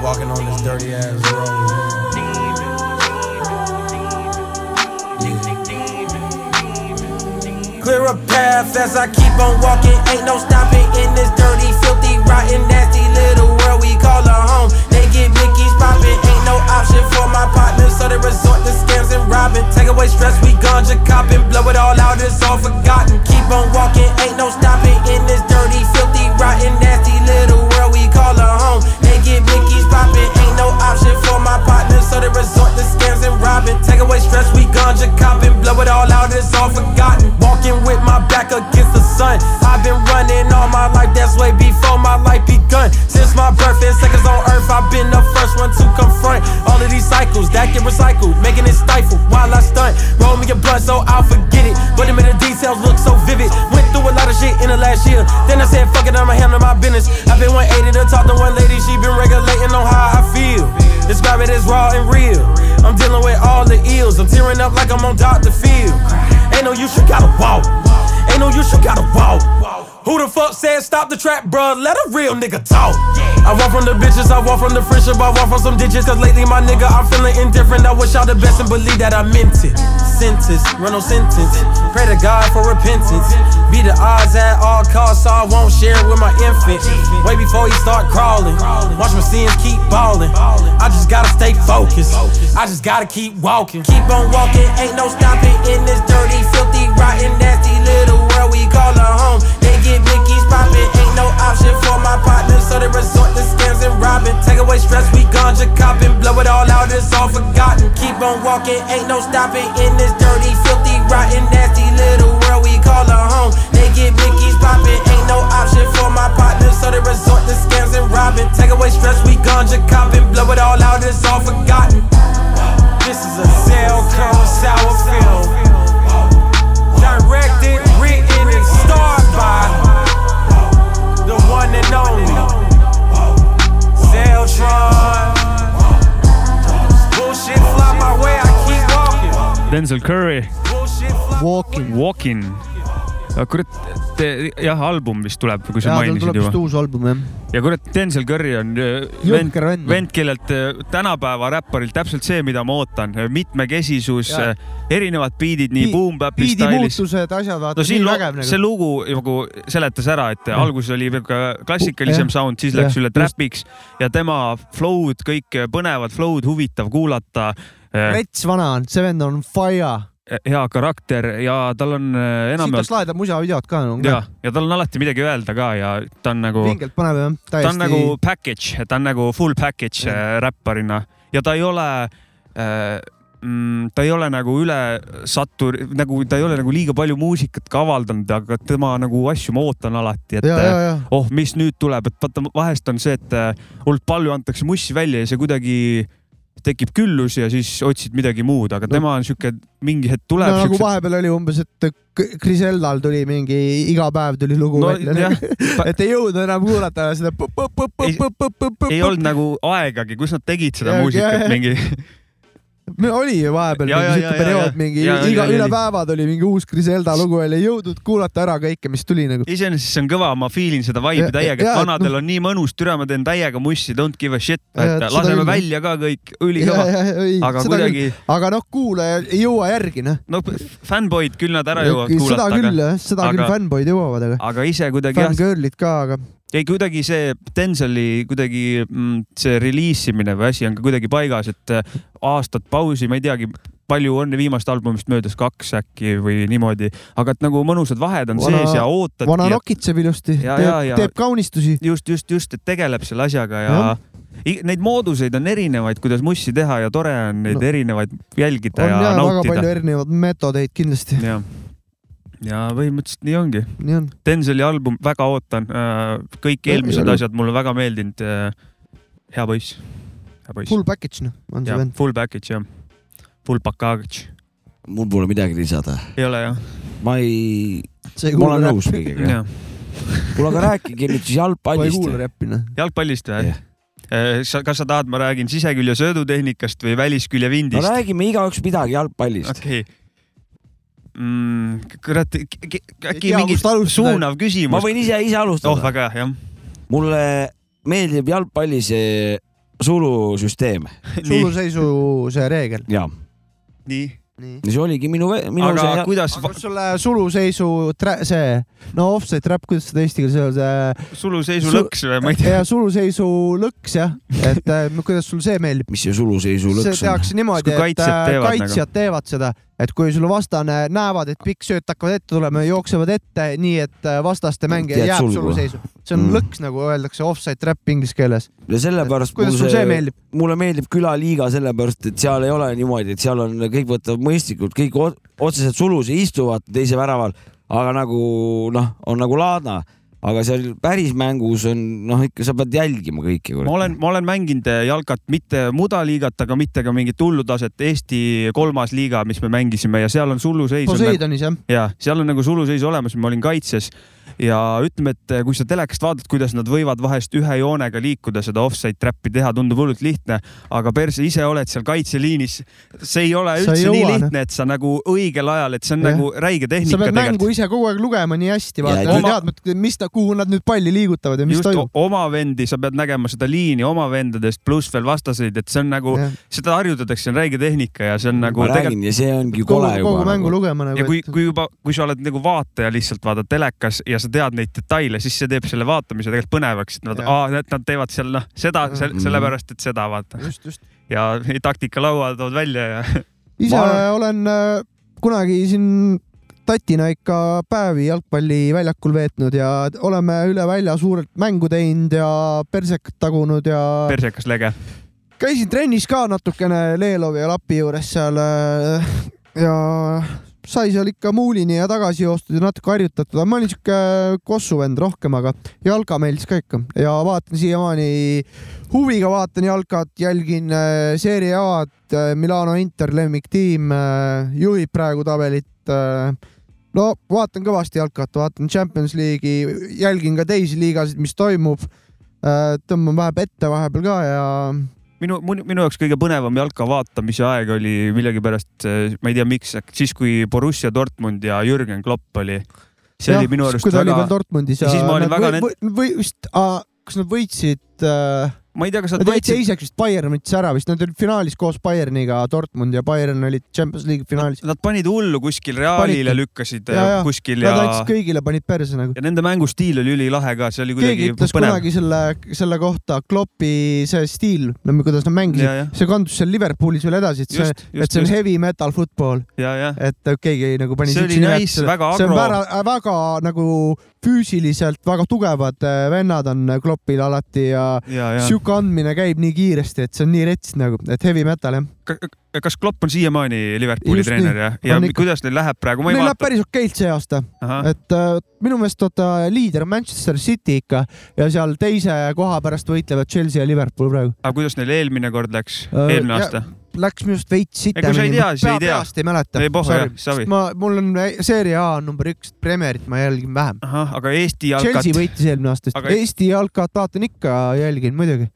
Walking on this dirty ass road. Yeah. Clear a path as I keep on walking. Ain't no stopping in this dirty, filthy, rotten, nasty little world we call a home. They get Mickey's poppin'. Ain't no option for my partners, so they resort to scams and robbing. Take away stress, we ganja copping. Blow it all out, it's all forgotten. Keep on walking, ain't no stopping in this dirty, filthy, rotten, nasty little world we call a home. They get Mickey's poppin'. Ain't no option for my partners, so they resort to scams and robbing. Take away stress, we ganja copping. Blow it all out, it's all forgotten. Walking with my back against the sun. I've been running all my life, that's way before my life begun. Since my birth and seconds on earth, I've been the first one to confront all of these cycles that get recycled, making it stifle while I stunt. Roll me a blunt so I'll forget it, but it made the details look so vivid. Went through a lot of shit in the last year, then I said fuck it, I'ma handle my business. I've been 180 to talk to one lady, she been regulating on how I feel. Describe it as raw and real. I'm dealing with all the ills, I'm tearing up like I'm on Dr. Phil. Ain't no use, you gotta walk. Ain't no use, you gotta walk. Who the fuck said stop the trap, bruh? Let a real nigga talk. I walk from the bitches, I walk from the friendship, I walk from some ditches. Cause lately, my nigga, I'm feeling indifferent. I wish y'all the best and believe that I meant it. Sentence, run on sentence. Pray to God for repentance. Be the odds at all costs, so I won't share it with my infant. Way before he start crawling. Watch my sins keep balling. I just gotta stay focused. I just gotta keep walking. Keep on walking, ain't no stopping in this dirty, filthy, rotten, nasty little world we call a home. They get Mickey's poppin', ain't no option for my partner, so they resort to scams and robbing. Take away stress, we ganja copping, blow it all out, it's all forgotten. Keep on walking, ain't no stopping in this dirty, filthy, rotten, nasty little world we call a home. They get Mickey's poppin', ain't no option for my partner, so they resort to scams and robbing. Take away stress, we ganja copping, blow it all out, it's all forgotten. This is a cell code sour film directed, written, and starred by the one and only Zeltron. Bullshit fly my way, I keep walking.
Denzel Curry ,
Bullshit fly
Walking .
Walkin . kurat , jah , album vist tuleb , kui sa
jaa , tal
mainisid
tuleb vist
juba .
uus album jah .
ja kurat , Denzel Curry on öö, vend
Jõhker , vend.
vend , kellelt öö, tänapäeva räpparilt täpselt see , mida ma ootan , mitmekesisus äh,
Jaa. ,
erinevad biidid nii boom-bap'i
biidi
stailis .
muutused , asjad ,
no
vaata ,
siin
nii
lu
vägev
see
nagu .
lugu nagu seletas ära , et
Jah.
alguses oli ka klassikalisem
Jah.
sound , siis läks
Jah,
üle
just.
trap'iks ja tema flow'd , kõik põnevad flow'd , huvitav kuulata .
Rets vana on , see vend on fire .
hea karakter ja tal on eh,
siit
enamjaolt
oleks lahedat musavideot ka nagu
ja , ja tal on alati midagi öelda ka ja ta on nagu ,
pingelt paneb jah ,
ta on
täiesti
nagu . package , ta on nagu full package
Jah.
eh, räpparina ja ta ei ole äh, , ta ei ole nagu üle satur- , nagu ta ei ole nagu liiga palju muusikat ka avaldanud , aga tema nagu asju ma ootan alati , et
ja , ja , ja
oh , mis nüüd tuleb , et vaata vahest on see , et äh, hullult palju antakse mussi välja ja see kuidagi tekib küllus ja siis otsid midagi muud , aga
No.
tema on siuke , mingi hetk tuleb
no nagu
siukse-
vahepeal oli umbes , et K- Grisellal tuli mingi , iga päev tuli lugu
No
välja
jah. ,
et ei jõudnud enam kuulata seda .
Ei- ei olnud nagu aegagi , kus nad tegid seda
Ja,
muusikat
ja, ja.
mingi ,
oli ju vahepeal
Ja,
mingi
ja,
siuke
ja, ja,
periood
ja. ,
mingi
Ja, oli,
iga ,
oli,
üle
oli.
päeva tuli mingi uus Griselda lugu ja ei jõudnud kuulata ära kõike , mis tuli nagu .
iseenesest see on kõva , ma feel in seda vibe'i
Ja, ja,
täiega , et
et
vanadel on nii mõnus , türa , ma teen täiega mussi , don't give a shit ,
Ja,
et
et noh. seda
laseme
küll.
välja ka kõik , ülikõva . aga
aga
kuidagi ,
aga noh , kuulaja ei jõua järgi noh .
no fännboid küll nad ära jõuavad
seda
kuulata ,
küll
aga ,
jah , seda küll
aga-
fännboid jõuavad , aga
aga ise kuidagi jah ,
fänngirl'id ka , aga
ei kuidagi see Denzeli kuidagi mm, see reliisimine või asi on ka kuidagi paigas , et äh, aastad pausi , ma ei teagi , palju on viimast albumist möödas , kaks äkki või niimoodi , aga et nagu mõnusad vahed on
Vana-
sees ja ootad .
vana nokitseb ilusti ,
Ja, ja, ja.
teeb kaunistusi .
just , just , just , et tegeleb selle asjaga ja,
Jah.
ja. neid mooduseid on erinevaid , kuidas mussi teha ja tore on neid
No.
no. erinevaid jälgida
on
ja,
jaa
ja
väga palju
nautida .
erinevaid meetodeid kindlasti ,
ja , ja põhimõtteliselt nii ongi .
nii on .
Denzeli album , väga ootan . kõik eelmised
Väga-
asjad mulle väga meeldinud . hea poiss , hea poiss .
Full package noh , on see
jah ,
vend .
full package jah , full package .
mul pole midagi lisada .
ei ole jah ?
ma ei ,
sa ei
ma olen
kuula
nõus kõigega .
jah ,
kuule , aga rääkige nüüd siis
ma ei
jalgpallist .
kuula räppi noh .
jalgpallist või ? sa , kas sa tahad , ma räägin sisekülje söödutehnikast või väliskülje
no
vindist ?
räägime igaüks midagi jalgpallist .
okei . kurat , äkki
tea,
mingi
kust alustada.
suunav
ma
küsimus ?
võin ise , ise
oh ,
alustada .
väga hea , jah .
mulle meeldib jalgpalli see sulusüsteem
nii ,
suluseisu see reegel .
ja
nii .
see oligi minu , minu
aga
see
kuidas
aga kas sulle suluseisu tra- , see , no offside trap , kuidas seda eesti keeles öelda ,
suluseisu
Su-
lõks või ma ei tea ,
ja suluseisu lõks jah , et äh, kuidas sul see meeldib ?
mis see suluseisu
see
lõks on ?
tehakse niimoodi ,
Kas kui
et
kaitsjad
äh,
teevad nagu?
kaitsjad teevad seda , et kui sul vastane näevad , et pikk sööt hakkavad ette tulema ja jooksevad ette , nii et äh, vastaste mängija
Jääd
jääb
sulgu.
suluseisu . see on
Mm.
mm. lõks , nagu öeldakse offside trap inglise keeles .
ja sellepärast mul
kuidas sul see meeldib ?
mulle meeldib külaliiga sellepärast , et seal ei ole niimoodi , et seal on kõik võtavad mõistlikult , kõik o- otseselt sulus ja istuvad teise väraval , aga nagu noh , on nagu laadna , aga seal päris mängus on noh , ikka sa pead jälgima kõike .
ma olen , ma olen mänginud äh, jalkat , mitte mudaliigat , aga mitte ka mingit hullu taset , Eesti kolmas liiga , mis me mängisime ja seal on nagu- suluseis .
Poseidonis jah ,
nagu ja seal on nagu suluseis olemas , ma olin kaitses ja ütleme , et eh, kui sa telekast vaatad , kuidas nad võivad vahest ühe joonega liikuda , seda offside trap'i teha , tundub hullult lihtne , aga perse ise oled seal kaitseliinis , see ei ole
Sa ei
üldse nii
jõua, noh.
lihtne , et sa nagu õigel ajal , et see on
Jah.
nagu räige
sa
tehnika
pead
tegelikult .
mängu ise kogu aeg lugema nii hästi , vaata ,
Ja
sa
oma-
tead , mis ta , kuhu nad nüüd palli liigutavad ja mis
just
toimub .
o- oma vendi , sa pead nägema seda liini oma vendadest , pluss veel vastaseid , et see on nagu ,
Jah.
seda harjutatakse , see on räige tehnika ja see on nagu
ma räägin ja see ongi
kogu
kole , juba
kogu . mängu
Nagu.
lugema
ja
nagu ,
kui ,
et
kui juba , kui sa oled nagu vaataja lihtsalt vaata telekas ja sa tead neid detaile , siis see teeb selle vaatamise tegelikult põnevaks , et nad ,
Jah.
aa , et nad teevad seal noh , seda sel,
Mhm.
sellepärast , et seda vaata
just , just .
ja taktikalaua tood välja ja
ise
Ma
arvan... olen äh, kunagi siin tatina ikka päevi jalgpalliväljakul veetnud ja oleme üle välja suurelt mängu teinud ja persekat tagunud ja
persekas lege .
käisin trennis ka natukene Leelovi ja Lapi juures seal äh, ja sai seal ikka muulini ja tagasi joostud ja natuke harjutatud , aga ma olin siuke kossu vend rohkem , aga jalka meeldis ka ikka ja vaatan siiamaani , huviga vaatan jalkat , jälgin äh, Serie A-d , Milano Inter lemmiktiim äh, juhib praegu tabelit äh, no vaatan kõvasti jalkat , vaatan Champions League'i , jälgin ka teisi liigasid , mis toimub . tõmban vahepeal ette vahepeal ka ja
minu , minu jaoks kõige põnevam jalka vaatamise aeg oli millegipärast , ma ei tea , miks , siis kui Borussia Dortmund ja Jürgen Klopp oli . see
Jah,
oli minu arust
kui ta oli
väga
veel , Dortmundis
ja siis ma olin väga nend-
või, või vist , kas nad võitsid äh, ,
ma ei tea , kas
nad
nad
jäid
võitsid ,
teiseks vist Bayern võttis ära vist , nad olid finaalis koos Bayerniga , Dortmund ja Bayern olid Champions League'i finaalis .
nad panid hullu kuskil Realile ,
Panidki.
lükkasid
Ja, ja.
kuskil
Nad
ja
andsid , kõigile , panid perse nagu .
ja nende mängustiil oli ülilahe ka , see oli
keegi
kuidagi
ütles
põnev .
kunagi selle , selle kohta Kloppi see stiil , kuidas nad
ja ,
mängisid ,
ja ,
see kandus seal Liverpoolis veel edasi , et see ,
just ,
et
just ,
see on
just ,
heavy metal football ,
ja , ja
et keegi nagu pani
See
siukse
oli
nime, et
nice,
selle-
väga
see on
agro.
väga, väga nagu füüsiliselt väga tugevad äh, vennad on Kloppil alati ja
ja , ja
sihuke andmine käib nii kiiresti , et see on nii rets nagu , et heavy metal jah .
Ka- kas Klopp on siiamaani Liverpooli
Just nii.
treener ja , ja
On ikka.
kuidas neil läheb praegu , ma ei
Neil läheb
vaata .
päris okeilt see aasta , et äh, minu meelest vaata liider on Manchester City ikka ja seal teise koha pärast võitlevad Chelsea ja Liverpool praegu .
aga kuidas neil eelmine kord läks ,
Äh,
eelmine
ja-
aasta ?
Läks minu arust veits
Ei, kui sa ei
sitemini ,
tea,
ma
siis ei
pea-
tea.
peast ei mäleta .
ei pohhu jah , savi .
ma , mul on seeria A on number üks , Premierit ma jälgin vähem .
ahah , aga Eesti jalkat
Chelsea . võitis eelmine aasta vist
Aga- Mhm.
aga... , Eesti jalkat vaatan ikka , jälgin muidugi ,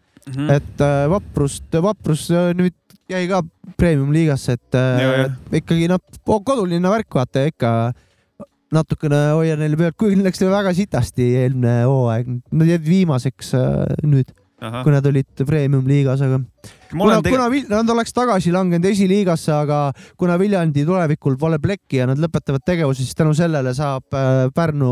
et äh, Vaprust , Vaprus äh, nüüd jäi ka premium-liigasse , et
Jah,
äh,
jah.
ikkagi noh , kodulinna värk , vaata ikka natukene hoian neile pealt , kuigi neil läks väga sitasti eelmine hooaeg , nad jäid viimaseks äh, nüüd ,
ma
kui nad olid premium-liigas , aga kuna ,
olen tegelikult ,
kuna Vil- nad oleks tagasi langenud esiliigasse , aga kuna Viljandi tulevikul pole plekki ja nad lõpetavad tegevuse , siis tänu sellele saab äh, Pärnu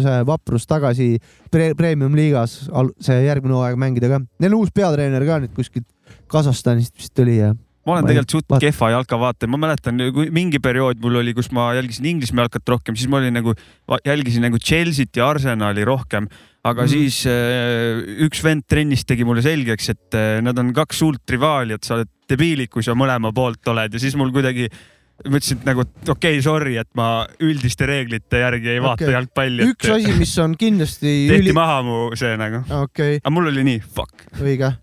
see vaprus tagasi pre premium liigas al- see järgmine hooaeg mängida ka . Neil uus peatreener ka nüüd kuskilt Kasahstanist vist tuli ja
ma olen
ma ei-
tegelikult suht
vaata-
kehva jalkavaataja , ma mäletan , kui mingi periood mul oli , kus ma jälgisin Inglismaa jalkat rohkem , siis ma olin nagu , jälgisin nagu Chelsea't ja Arsenali rohkem , aga
Mhm.
mm. siis äh, üks vend trennis tegi mulle selgeks , et äh, nad on kaks suurt rivaali , et sa oled debiilik , kui sa mõlema poolt oled ja siis mul kuidagi ma ütlesin et nagu , et okei okay, , sorry , et ma üldiste reeglite järgi ei vaata
Okei.
okay. jalgpalli .
üks asi , mis on kindlasti
tehti üli... maha mu see nagu ,
okei ,
aga mul oli nii fuck .
õige .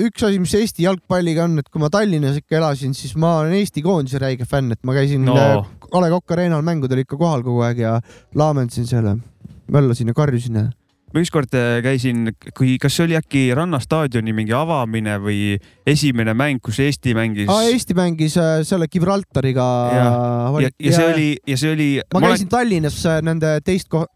üks asi , mis Eesti jalgpalliga on , et kui ma Tallinnas ikka elasin , siis ma olen Eesti koondise räige fänn , et ma käisin
No.
äh, A Le Coq Arena'l mängudel ikka kohal kogu aeg ja laamendasin selle , möllasin ja karjusin ja .
ma ükskord äh, käisin , kui , kas see oli äkki Rannastaadioni mingi avamine või esimene mäng , kus Eesti mängis
Ah, Eesti mängis äh, selle Gibraltariga .
ja, ja see oli ja see oli ,
ma käisin olen... Tallinnas äh, nende teist ko- ,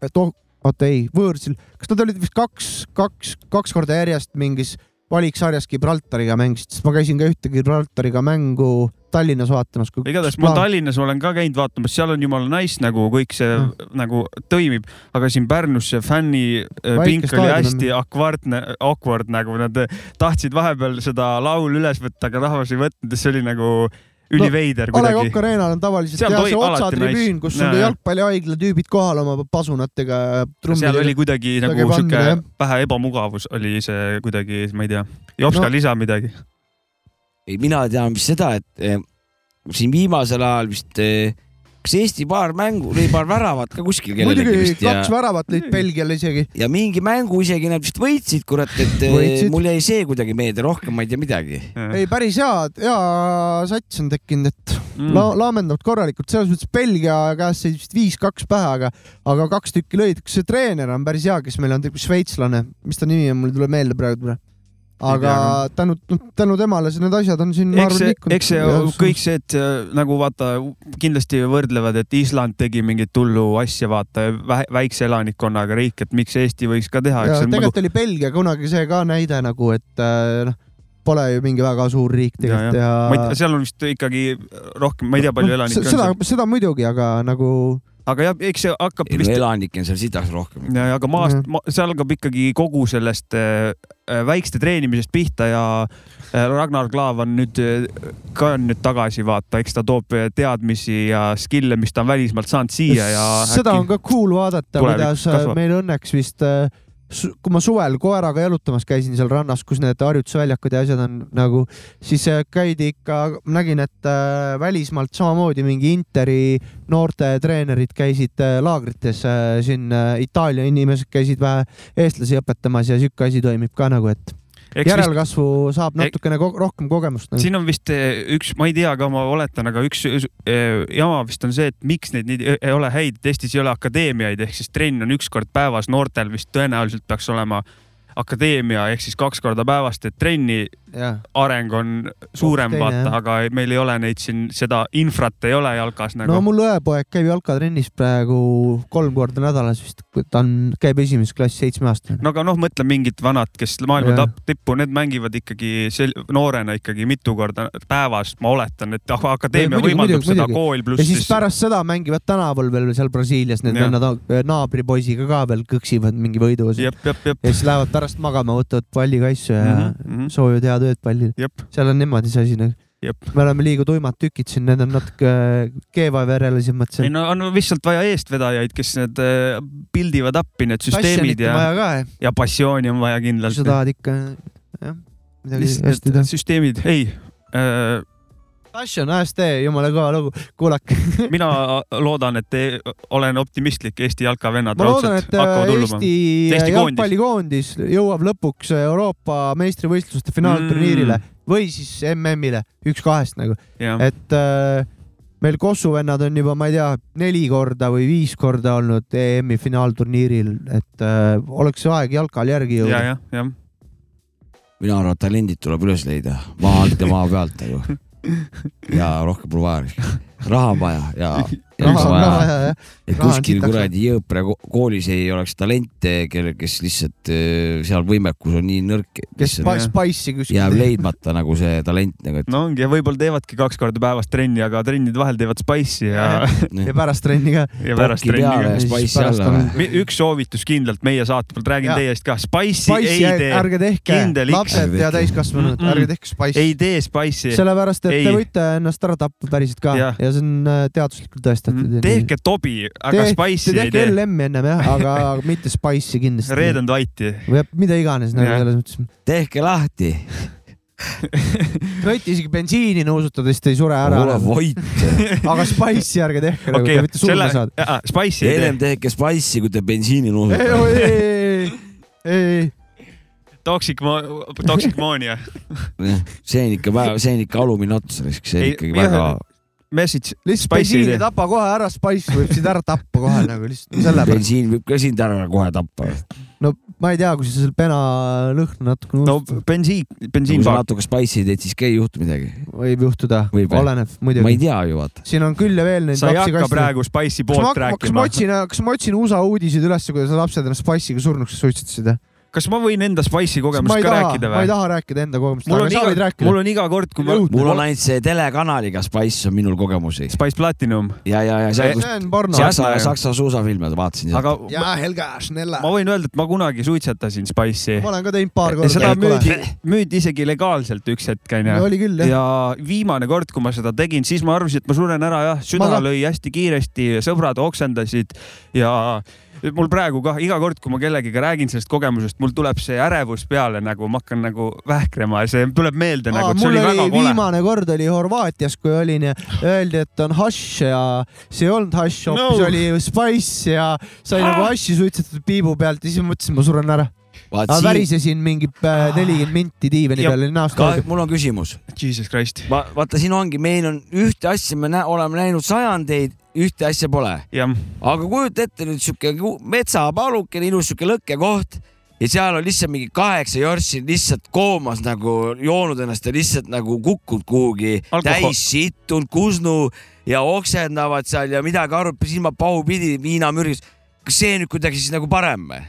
oota ei , võõrsil , kas nad olid vist kaks , kaks , kaks korda järjest mingis valiksarjas Gibraltariga mängisid , sest ma käisin ka ühte Gibraltariga mängu Tallinnas vaatamas .
igatahes ma . Tallinnas olen ka käinud vaatamas , seal on jumala nice nagu kõik see mm. nagu toimib , aga siin Pärnus see fänni äh,
Väike
pink oli
staadion on.
hästi akvardne , awkward nagu nad äh, tahtsid vahepeal seda laulu üles võtta , aga rahvas ei võtnud ja see oli nagu üliveider
A Le
kuidagi
Coq . Arena'l on tavaliselt
Seal
tehakse
toi- alati
otsatribüün ,
nice.
kus
Jaa,
on ka
jaa.
jalgpallihaigla tüübid kohal oma pasunatega ja
seal oli
trummidega .
kuidagi
ei
nagu
pannud,
sihuke
jah.
vähe ebamugavus oli see kuidagi , ma ei tea , Jopska
No.
no. lisa midagi .
ei , mina tean vist seda , et eh, siin viimasel ajal vist eh, kas Eesti paar mängu või paar väravat ka kuskil kellelegi
muidugi
vist ja
kaks , väravat lõid Belgiale isegi .
ja mingi mängu isegi nad vist võitsid , kurat , et eh,
Võitsid.
mul jäi see kuidagi meelde , rohkem ma ei tea midagi .
ei , päris hea , hea sats on tekkinud , et mm. la laamendavad korralikult , selles mõttes Belgia käest sai vist viis-kaks pähe , aga , aga kaks tükki lõid . kas see treener on päris hea , kes meil on , šveitslane , mis ta nimi on , mul ei tule meelde praegu . aga tänu , tänu temale see , need asjad on siin .
eks see , eks see kõik see , et äh, nagu vaata , kindlasti võrdlevad , et Island tegi mingit hullu asja , vaata vähe- väikse elanikkonnaga riik , et miks Eesti võiks ka teha , eks
ja
see on nagu
tegelikult oli Belgia kunagi see ka näide nagu , et äh, noh , pole ju mingi väga suur riik tegelikult ja,
ma ei tea ,
ja... .
seal on vist ikkagi rohkem , ma ei tea , palju elanikke on
seda
seal ,,
seda muidugi , aga nagu
aga jah , eks see hakkab
ei no
vist ,
elanikke on seal sitas rohkem .
aga maast
Mhm.
ma, , see algab ikkagi kogu sellest äh, äh, väikeste treenimisest pihta ja äh, Ragnar Klav on nüüd äh, ka on nüüd tagasi , vaata , eks ta toob äh, teadmisi ja skill'e , mis ta on välismaalt saanud siia ja
seda on ka cool vaadata ,
tulevikus
kuidas äh,
kasvab.
meil õnneks vist , kui ma suvel koeraga jalutamas käisin seal rannas , kus need harjutusväljakud ja asjad on nagu , siis äh, käidi ikka , nägin , et äh, välismaalt samamoodi mingi Interi noortetreenerid käisid äh, laagrites äh, siin , Itaalia inimesed käisid vähe eestlasi õpetamas ja sihuke asi toimib ka nagu , et
Eks vist- e-
järelkasvu saab
Eks-
natukene ko rohkem kogemust . nagu.
siin on vist eh, üks , ma ei tea ka , ma oletan , aga üks eh, jama vist on see , et miks neid nii eh, ei ole häid , et Eestis ei ole akadeemiaid ehk siis trenn on üks kord päevas , noortel vist tõenäoliselt peaks olema akadeemia ehk siis kaks korda päevas teed trenni , areng on suurem ,
Teine,
vaata
jah. ,
aga meil ei ole neid siin , seda infrat ei ole jalkas nagu
no . mul õepoeg käib jalkatrennis praegu kolm korda nädalas vist , ta on , käib esimeses klassis seitsmeaastane .
no aga noh , mõtle mingid vanad , kes maailma
Jah.
tapp- , tippu , need mängivad ikkagi sel- , noorena ikkagi mitu korda päevas , ma oletan , et ah- akadeemia
Muidugi,
võimaldab
muidugi,
seda
muidugi.
kool
ja
pluss
siis pärast seda mängivad tänaval veel seal Brasiilias need
Jah.
vennad äh, naabripoisiga ka veel kõksivad mingi võidu ja
jep , jep , jep .
siis lähevad pärast magama , võtavad palli kaisu ja mm -hmm.
-hmm.
soovivad head ööd pallile .
jep ,
seal on niimoodi see asi nagu .
jep .
me oleme liiga tuimad tükid siin , need on natuke äh, keevaverelisemad
ei
seal .
no on lihtsalt vaja eestvedajaid , kes need äh, pildivad appi , need süsteemid ja ,
vaja ka ,
ja passiooni on vaja
kui
kindlalt
sa . tahad ikka , jah , midagi hästi teha
lihtsalt . süsteemid , ei äh, ,
Passion ASD , jumala kõva lugu , kuulake .
mina loodan , et te, olen optimistlik , Eesti jalkavennad
ma loodan , et
raudselt
äh,
hakkavad hulluma .
Eesti
Eesti koondis.
jalgpallikoondis jõuab lõpuks äh, Euroopa meistrivõistluste finaalturniirile mm. või siis MM-ile , üks kahest nagu ,
jah ,
et äh, meil Kossu vennad on juba , ma ei tea , neli korda või viis korda olnud EM-i finaalturniiril , et äh, oleks aeg jalkal järgi
ja ,
jõuda .
jah , jah .
mina arvan , et talendid tuleb üles leida maa alt ja maa pealt nagu . ja rohkem pole vaja , raha on vaja ja .
raha on raha ja , ja ,
et
Raha on
kuskil
sitaks.
kuradi Jõõpra ko- koolis ei oleks talente , kellel , kes lihtsalt öö, seal võimekus on nii nõrk , et
kes
lihtsalt
pa- spice'i
jääb
kuskil .
leidmata nagu see talent nagu , et
no ongi ja võib-olla teevadki kaks korda päevas trenni , aga trennide vahel teevad spice'i ja ,
ja pärast trenni ka .
ja pärast
Paki
trenni
peale.
ka .
Ja spice'i alla või?
üks soovitus kindlalt meie saate pealt , räägin
Jaa.
teie eest ka , spice'i ei
Spice'i
tee ,
ärge tehke ,
kindel X.
lapsed ja täiskasvanud
Mm-mm. ,
ärge tehke spice'i .
ei tee spice'i .
sellepärast , et ei. te
Ei.
võite ennast ära tappa päriselt ka ja,
Jah.
ja see on äh, teaduslikult tõestatud .
Mm. tehke tobi , aga
Teh-
spice'i ei
tehke
tee .
LM-i ennem jah , aga mitte Spice'i kindlasti .
reedend vaiti .
või mida iganes nagu
Jah.
selles mõttes .
tehke lahti .
võite isegi bensiini nuusutades , te ei sure ära ,
ole vait ,
aga Spice'i ärge tehke nagu ,
okei
te , võite surma
selle
saada .,
spice'i ei
ennem
tee .
tehke spice'i , kui te bensiini
ei ,
nuusutate .
ei , ei , ei , ei ,
Toxic , toxic moonia .
see on ikka väga , see on ikka alumine ots , see on
Ei,
ikkagi
jah.
väga ,
Message ,
lihtsalt
Spice'i ei
bensiini
tee.
tapa kohe ära , Spice võib sind ära tappa kohe nagu lihtsalt sellepärast .
bensiin võib ka sind ära kohe tappa .
no ma ei tea , kui sa seal pena lõhna natuke
no
nuustad no, ,
bensiin ,
kui sa
bensiinpaak .
natuke spice'i teed , siis ka ei juhtu midagi .
võib juhtuda ,
Võib, jah.
oleneb
ma ei
muidugi .
tea ju , vaata .
siin on küll ja veel neid
sa ei hakka
lapsikaste-
praegu spice'i poolt
kas ma, kas
rääkima
ma . otsin , kas ma otsin USA uudiseid üles , kuidas lapsed ennast passiga surnuks suitsetasid ?
kas ma võin enda spice'i
ma
kogemust
ei
ka
taha ,
rääkida
ma ei
või ?
taha rääkida enda kogemust ,
mul
aga
on
sa võid
iga ,
rääkida .
mul on iga kord , kui ma ,
Jõudnud.
mul on ainult see telekanaliga Spice on minul kogemusi
Spice Platinum ,
ja , ja , ja seal , kus
see on porno .
Saksa , Saksa suusafilme vaatasin sealt .
aga ma,
jaa , Helga Schnella
ma . võin öelda , et ma kunagi suitsetasin Spice'i
ma . olen ka teinud paar
ja
korda .
seda müüdi , müüdi isegi legaalselt üks hetk , onju .
oli küll jah .
ja viimane kord , kui ma seda tegin , siis ma arvasin , et ma suren ära , jah , süda
Ma ka.
lõi hästi kiiresti , sõbrad oksendasid ja mul praegu kah iga kord , kui ma kellegiga räägin sellest kogemusest , mul tuleb see ärevus peale nagu , ma hakkan nagu vähkrema ja see tuleb meelde nagu , et see
mul
oli väga
oli
kole .
viimane kord oli Horvaatias , kui olin ja öeldi , et on hašš ja see ei olnud hašš , hoopis
No.
oli spice ja sai nagu hašši suitsetatud piibu pealt ja siis ma mõtlesin , ma suren ära .
vaat
ma
siin ,
värisesin mingi äh, nelikümmend minti diivani
Ah. Ja-
peal , olin näost
ka,
kaugel .
mul on küsimus .
Jesus Christ .
ma , vaata , siin ongi , meil on ühte asja , me nä oleme näinud sajandeid , ühte asja pole .
jah ,
aga kujuta ette nüüd sihuke ku- metsapalukene , ilus sihuke lõkkekoht ja seal on lihtsalt mingi kaheksa jorssi lihtsalt koomas nagu joonud ennast ja lihtsalt nagu kukkunud kuhugi
Alkohol-
täis sittunud Kusnu ja oksendavad seal ja midagi arvab silma pahupidi viinamürgis . kas see nüüd kuidagi siis nagu parem või ?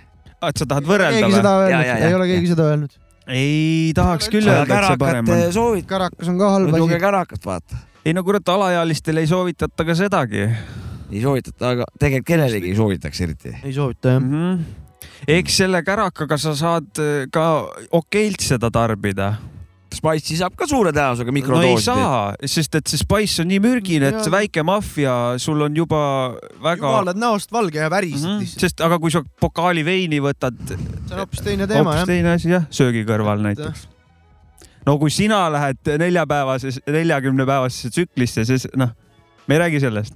Ah, et sa tahad
keegi
võrrelda
seda
või ?
Ja, ja,
öelnud ,
ja,
ei ole
ja.
keegi seda öelnud .
ei tahaks küll
aga
öelda , et see
kärakat
parem on .
soovid ,
Karakas on ka halb
jooge
asi .
kärakat , vaata .
ei no kurat , alaealistele ei soovitata ka sedagi
ei soovitata , aga tegelikult kellelegi ei soovitaks eriti .
ei soovita jah .
mm . -hmm. eks selle kärakaga sa saad eh, ka okeilt seda tarbida .
Spice'i saab ka suure tõenäosusega
no ei
mikrodoosi .
saa , sest et see spice on nii mürgine , et
Jaa.
see väike maffia , sul on juba väga .
jumalad näost valge ja värised mm -hmm. lihtsalt .
sest aga kui sa pokaali veini võtad ,
see on hoopis teine teema
hoopis
jah .
teine asi jah , söögi kõrval näiteks . no kui sina lähed neljapäevases , neljakümnepäevasesse tsüklisse , siis noh , me ei räägi sellest ,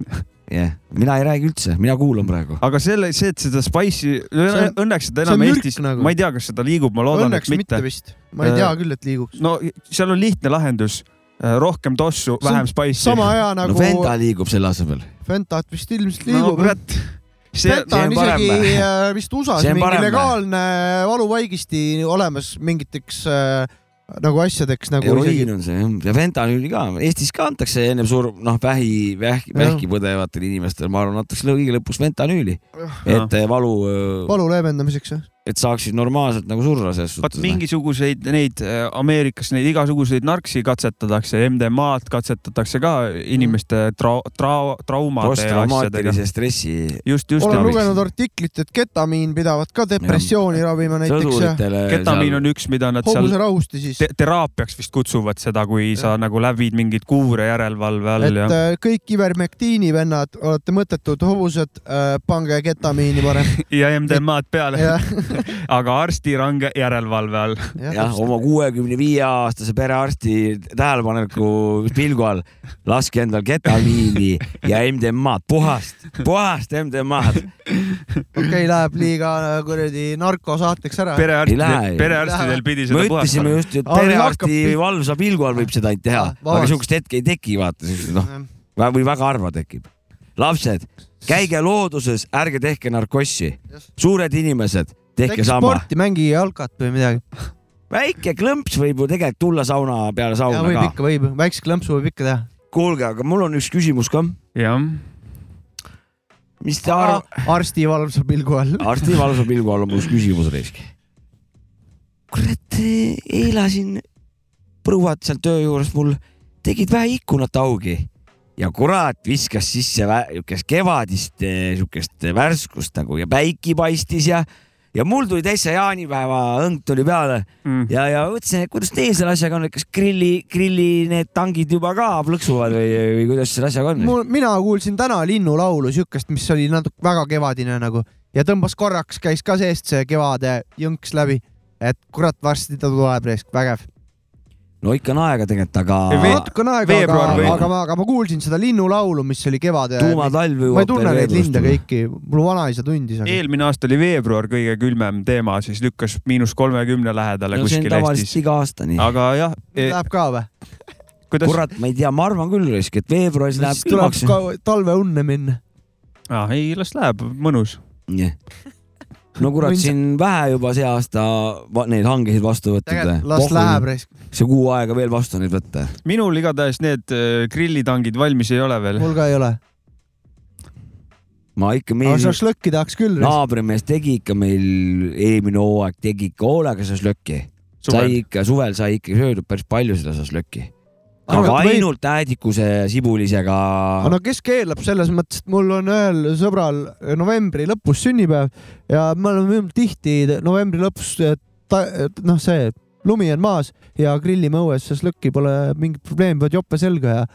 jah , mina ei räägi üldse , mina kuulan praegu .
aga selle , see , et seda spice'i ,
on-
õnneks seda
see on
enam
mürk
Eestis
nagu.
nagu. , ma ei tea , kas seda liigub , ma loodan , et
Õnneks
mitte,
mitte
mitte. .
vist . ma ei
Äh,
tea küll , et liiguks .
no seal on lihtne lahendus , rohkem tossu ,
See on
vähem spice'i .
sama hea
no
nagu
Fenda liigub selle asemel .
Fentat vist ilmselt
no
liigub jah.
kurat , see ,
Feta on
see on
isegi
parem.
äh, vist USA-s
See on
mingi
parem.
legaalne valuvaigisti olemas mingiteks äh, nagu asjadeks nagu
heroiin on see jah , ja fentanüüli ka , Eestis ka antakse ennem sur- , noh , vähi , vähki ,
Jah.
vähki põdevatele inimestele , ma arvan , antakse lõ- kõige lõpus fentanüüli ,
Jah.
et eh, valu ,
valu leevendamiseks .
et saaksid normaalselt nagu surra selles
vot
suhtes .
mingisuguseid neid äh, Ameerikas neid igasuguseid narksi katsetatakse , MDMA-d katsetatakse ka inimeste trau- , trau- , traumade ja asjadega .
posttraumaatilise stressi
just , just .
olen
jah.
lugenud artiklit , et ketamiin pidavat ka depressiooni ravima näiteks ja
sõduritele .
ketamiin on üks , mida nad seal
hobuse rahusti siis
te . teraapiaks vist kutsuvad seda , kui ja. sa nagu läbid mingeid kuure järelevalve all
et
ja .
äh, kõik ivermektiini vennad , olete mõttetud hobused , pange ketamiini parem .
ja MDMA-d peale ,
jah ,
aga arsti range järelevalve all .
jah , oma kuuekümne viie aastase perearsti tähelepaneku pilgu all laske endal ketamiini ja MDMA-d , puhast , puhast MDMA-d .
okei , läheb liiga äh, kuradi narkosaateks ära .
lähe
perearstidel ,
ju.
perearstidel pidi
me
seda puhast
ütlesime
olema .
just , et
Aa, meil
perearsti
hakkab-
valvsa pilgu all võib seda ainult teha
Aa, ,
aga
vabandust.
sihukest hetke ei teki , vaata , noh , või väga harva tekib . lapsed , käige looduses , ärge tehke narkossi . suured inimesed , tehke
tehke
sama .
sporti , mängige jalkat või midagi .
väike klõmps võib ju tegelikult tulla sauna peale
ja
sauna
võib
ka .
ikka , võib , väikse klõmpsu võib ikka teha .
kuulge , aga mul on üks küsimus ka .
jah ,
mis te arvate ,
arsti valvsa pilgu all .
arsti valvsa pilgu all on mul üks küsimus risk . kurat , eile siin prouad seal töö juures mul tegid vähe ikkunat augi ja kurat viskas sisse vä- siukest kevadist eh, siukest värskust nagu ja päike paistis ja , ja mul tuli täitsa jaanipäeva õng tuli peale
Mm.
ja , ja mõtlesin , et kuidas teil selle asjaga on , et kas grilli , grilli need tangid juba ka plõksuvad või , või kuidas selle asjaga on ?
mul , mina kuulsin täna linnulaulu , siukest , mis oli natuke väga kevadine nagu ja tõmbas korraks , käis ka seest see kevade jõnks läbi , et kurat , varsti ta tuleb reisk , vägev .
no ikka on aega tegelikult , aga
natuke on aega , aga ,
veebruar
aga,
või-
aga ma , aga ma kuulsin seda linnulaulu , mis oli kevade . ma
tuumatalv jõuab .
ei tunne neid linde . kõiki , mul vanaisa tundis , aga
eelmine aasta oli veebruar kõige külmem teema , siis lükkas miinus kolmekümne lähedale
no see on
kuskil
tavaliselt
Eestis .
iga aasta nii .
aga jah , e,
läheb ka või ?
kuidas ?
kurat , ma ei tea , ma arvan küll , et veebruaris läheb
siis tuleb
külmaks .
ka talveunne minna .
ah, . ei , las läheb , mõnus .
no kurat ,
Võin sa-
siin vähe juba see aasta va- neid hangesid vastu võtnud .
tegelikult las läheb . reisk ,
see kuu aega veel vastu neid võtta .
minul igatahes need eh, grillitangid valmis ei ole veel .
mul ka ei ole .
ma ikka
aga
meeldin ,
šašlõkki tahaks küll .
naabrimees tegi ikka meil eelmine hooaeg tegi ikka hoolega šašlõkki . sai ikka suvel sai ikka söödud päris palju seda šašlõkki . aga ainult äädikuse sibulisega .
aga no kes keelab selles mõttes , et mul on ühel sõbral novembri lõpus sünnipäev ja me oleme tihti novembri lõpus , noh , see lumi on maas ja grillime õues , sest lõkki pole mingit probleemi , paned jope selga ja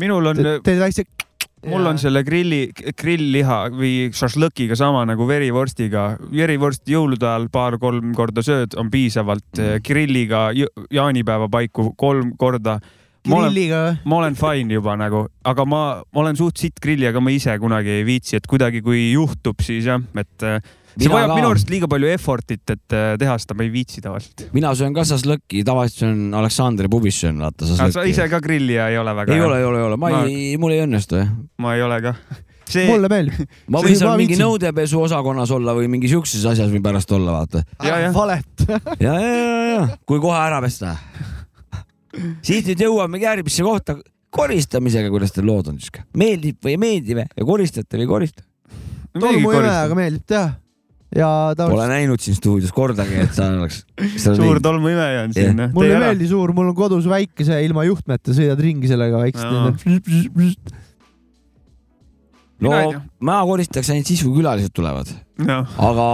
minul on äh,
te- teed väikse
mul on selle grilli , grillliha või šašlõkiga sama nagu verivorstiga . verivorst jõulude ajal paar-kolm korda sööd , on piisavalt .
Mhm.
grilliga jõ- jaanipäeva paiku kolm korda .
grilliga või ?
ma olen fine juba nagu , aga ma, ma olen suht sitt grilli , aga ma ise kunagi ei viitsi , et kuidagi kui juhtub , siis jah , et äh, see
Mina
vajab
ka.
minu arust liiga palju effort'it , et äh, teha seda , ma ei viitsi tavaliselt .
mina söön ka šašlõkki , tavaliselt söön Aleksandri pubis söön , vaata
sa ise
šašlõkki .
ka grillija ei ole väga ?
ei ole , ei ole , ei ole , ma
Ma-
ei , mul ei õnnestu jah .
ma ei ole ka . see ,
mulle meeldib .
ma
See
võin
juba
seal mingi
viitsin.
nõudepesu osakonnas olla või mingi siukses asjas võin pärast olla , vaata .
Jaa, jah.
valet .
ja , ja , ja , ja , kui kohe ära pesta . siis nüüd jõuamegi järgmisse kohta koristamisega , kuidas teil lood on siis . meeldib või ei meendi või ja koristate või ei korista ?
tolmuimejaga meeldib teha . ja
Pole
tavaliselt .
näinud siin stuudios kordagi , et sa oleks .
suur tolmuimeja on
Jah.
siin . noh,
mulle ei meeldi suur , mul on kodus väikese ilma juhtmeta , sõidad ringi sellega
Jaa.
väikselt .
no
Mina ei tea.
ma koristaks ainult siis , kui külalised tulevad ,
noh ,
aga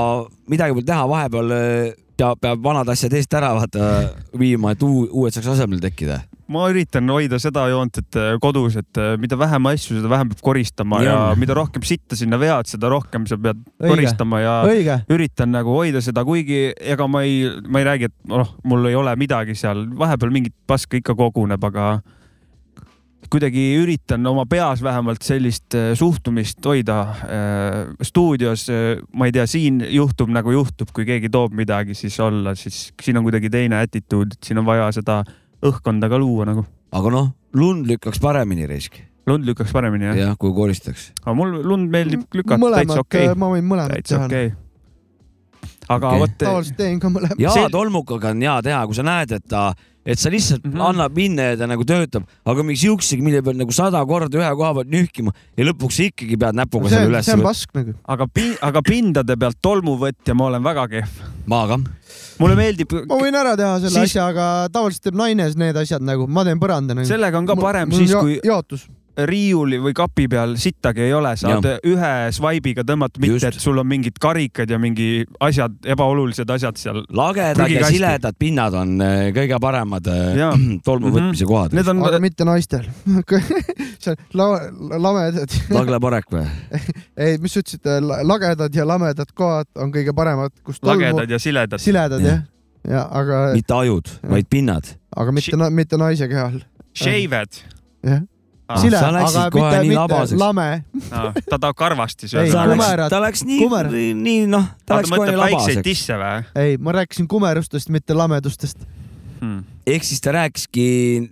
midagi pole teha , vahepeal öö, peab , peab vanad asjad eest ära vaata viima , et uu- uued saaks asemele tekkida .
ma üritan hoida seda joont , et äh, kodus , et äh, mida vähem asju , seda vähem peab koristama ja,
Nii
ja
on.
mida rohkem sitta sinna vead , seda rohkem sa pead
Õige.
koristama ja
õige .
üritan nagu hoida seda , kuigi ega ma ei , ma ei räägi , et noh , mul ei ole midagi seal , vahepeal mingit paska ikka koguneb , aga kuidagi üritan oma peas vähemalt sellist eh, suhtumist hoida . stuudios , ma ei tea , siin juhtub nagu juhtub , kui keegi toob midagi , siis olla , siis siin on kuidagi teine attitude , et siin on vaja seda õhkkonda ka luua nagu .
aga noh , lund lükkaks paremini risk ,
lund lükkaks paremini jah ja. ,
jah , kui koristaks .
aga mul lund meeldib lükata , täitsa okei okay. ,
Äh, ma võin mõlemat
täitsa
teha .
okei okay. .
Okei.
aga okay. vot ,
tavaliselt teen ka mõlemat .
ja
See-
see... tolmukaga on hea teha , kui sa näed , et ta , et sa lihtsalt mm
Mhm.
-hmm. annab minna ja ta nagu töötab , aga mingi siuksegi , mille peal nagu sada korda ühe koha pealt nühkima ja lõpuks sa ikkagi pead näpuga
see
selle
on ,
üles
see on
võtma .
pask nagu .
aga pi- , aga pindade pealt tolmuvõtja ma olen väga kehv .
maaga .
mulle meeldib ,
ma võin ära teha selle
Siis-
siis... asja , aga tavaliselt teeb naine need asjad nagu , ma teen põranda nagu .
sellega on ka parem siis , kui
jaotus .
riiuli või kapi peal sittagi ei ole , saad ja. ühe svaibiga tõmmata , mitte
Just.
et sul on mingid karikad ja mingi asjad , ebaolulised asjad seal .
lagedad ja
Prügikasti.
siledad pinnad on äh, kõige paremad äh,
Jaa.
tolmu
Mhm.
võtmise kohad .
Need on
aga mitte naistel . seal la- , lamedad ,
Lagla parek või ?
ei , mis sa ütlesid , lagedad ja lamedad kohad on kõige paremad , kus tolmu ,
lagedad ja siledad .
siledad
Jah.
jah , ja aga ,
mitte ajud , vaid pinnad .
aga mitte , mitte naise kehal .
Shaved
jah ,
Ah,
sile ,
sa läksid
aga
kohe
mitte ,
nii
mitte
labaseks.
lame ,
ah, . ta tahab karvasti
Ei,
sööda
ta läks
kumerad. ,
ta läks nii
Kumerad. ,
nii noh , ta
ta
läks kohe
mõtleb väikseid
labaseks .
tisse või
ei , ma rääkisin kumerustest , mitte lamedustest .
hmm. ?
ehk siis ta rääkiski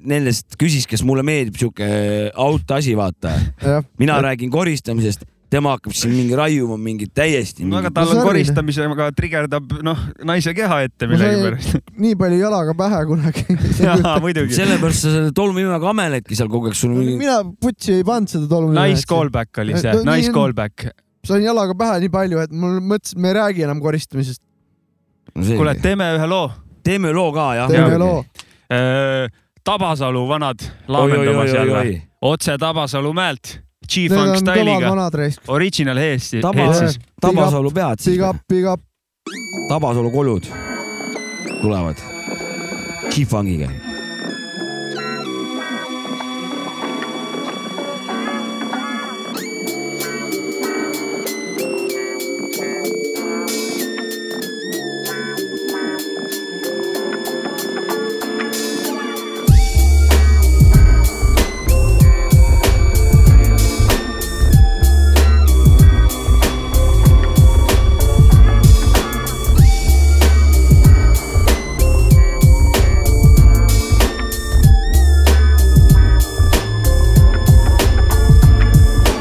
nendest , küsis , kas mulle meeldib siuke out asi , vaata .
jah ,
mina räägin koristamisest , tema hakkab siin mingi raiuma mingit täiesti
no aga
mingit... .
tal on
Sarvine.
koristamisega trigerdab noh , naise keha ette
Ma sain-
millegipärast .
nii palju jalaga pähe kunagi .
jaa , muidugi .
sellepärast sa selle tolmuimega ameledki seal kogu aeg , sul on mingi ,
mina putsi ei pannud seda tolmu .
Nice callback oli see
No , nii
nice
on.
callback .
sain jalaga pähe nii palju , et mul mõtlesin , et me ei räägi enam koristamisest .
kuule , teeme ühe loo
teeme loo ka jah .
teeme loo .
Äh, Tabasalu vanad laamendamas jälle , otse Tabasalu mäelt ,
Need
G-Funk
on kõvad
stailiga ,
vanad reisk .
original Heetsi ,
Taba
Heetsis .
Tabasalu pead siis
Big . up , big up .
Tabasalu kolud tulevad G-Fungiga .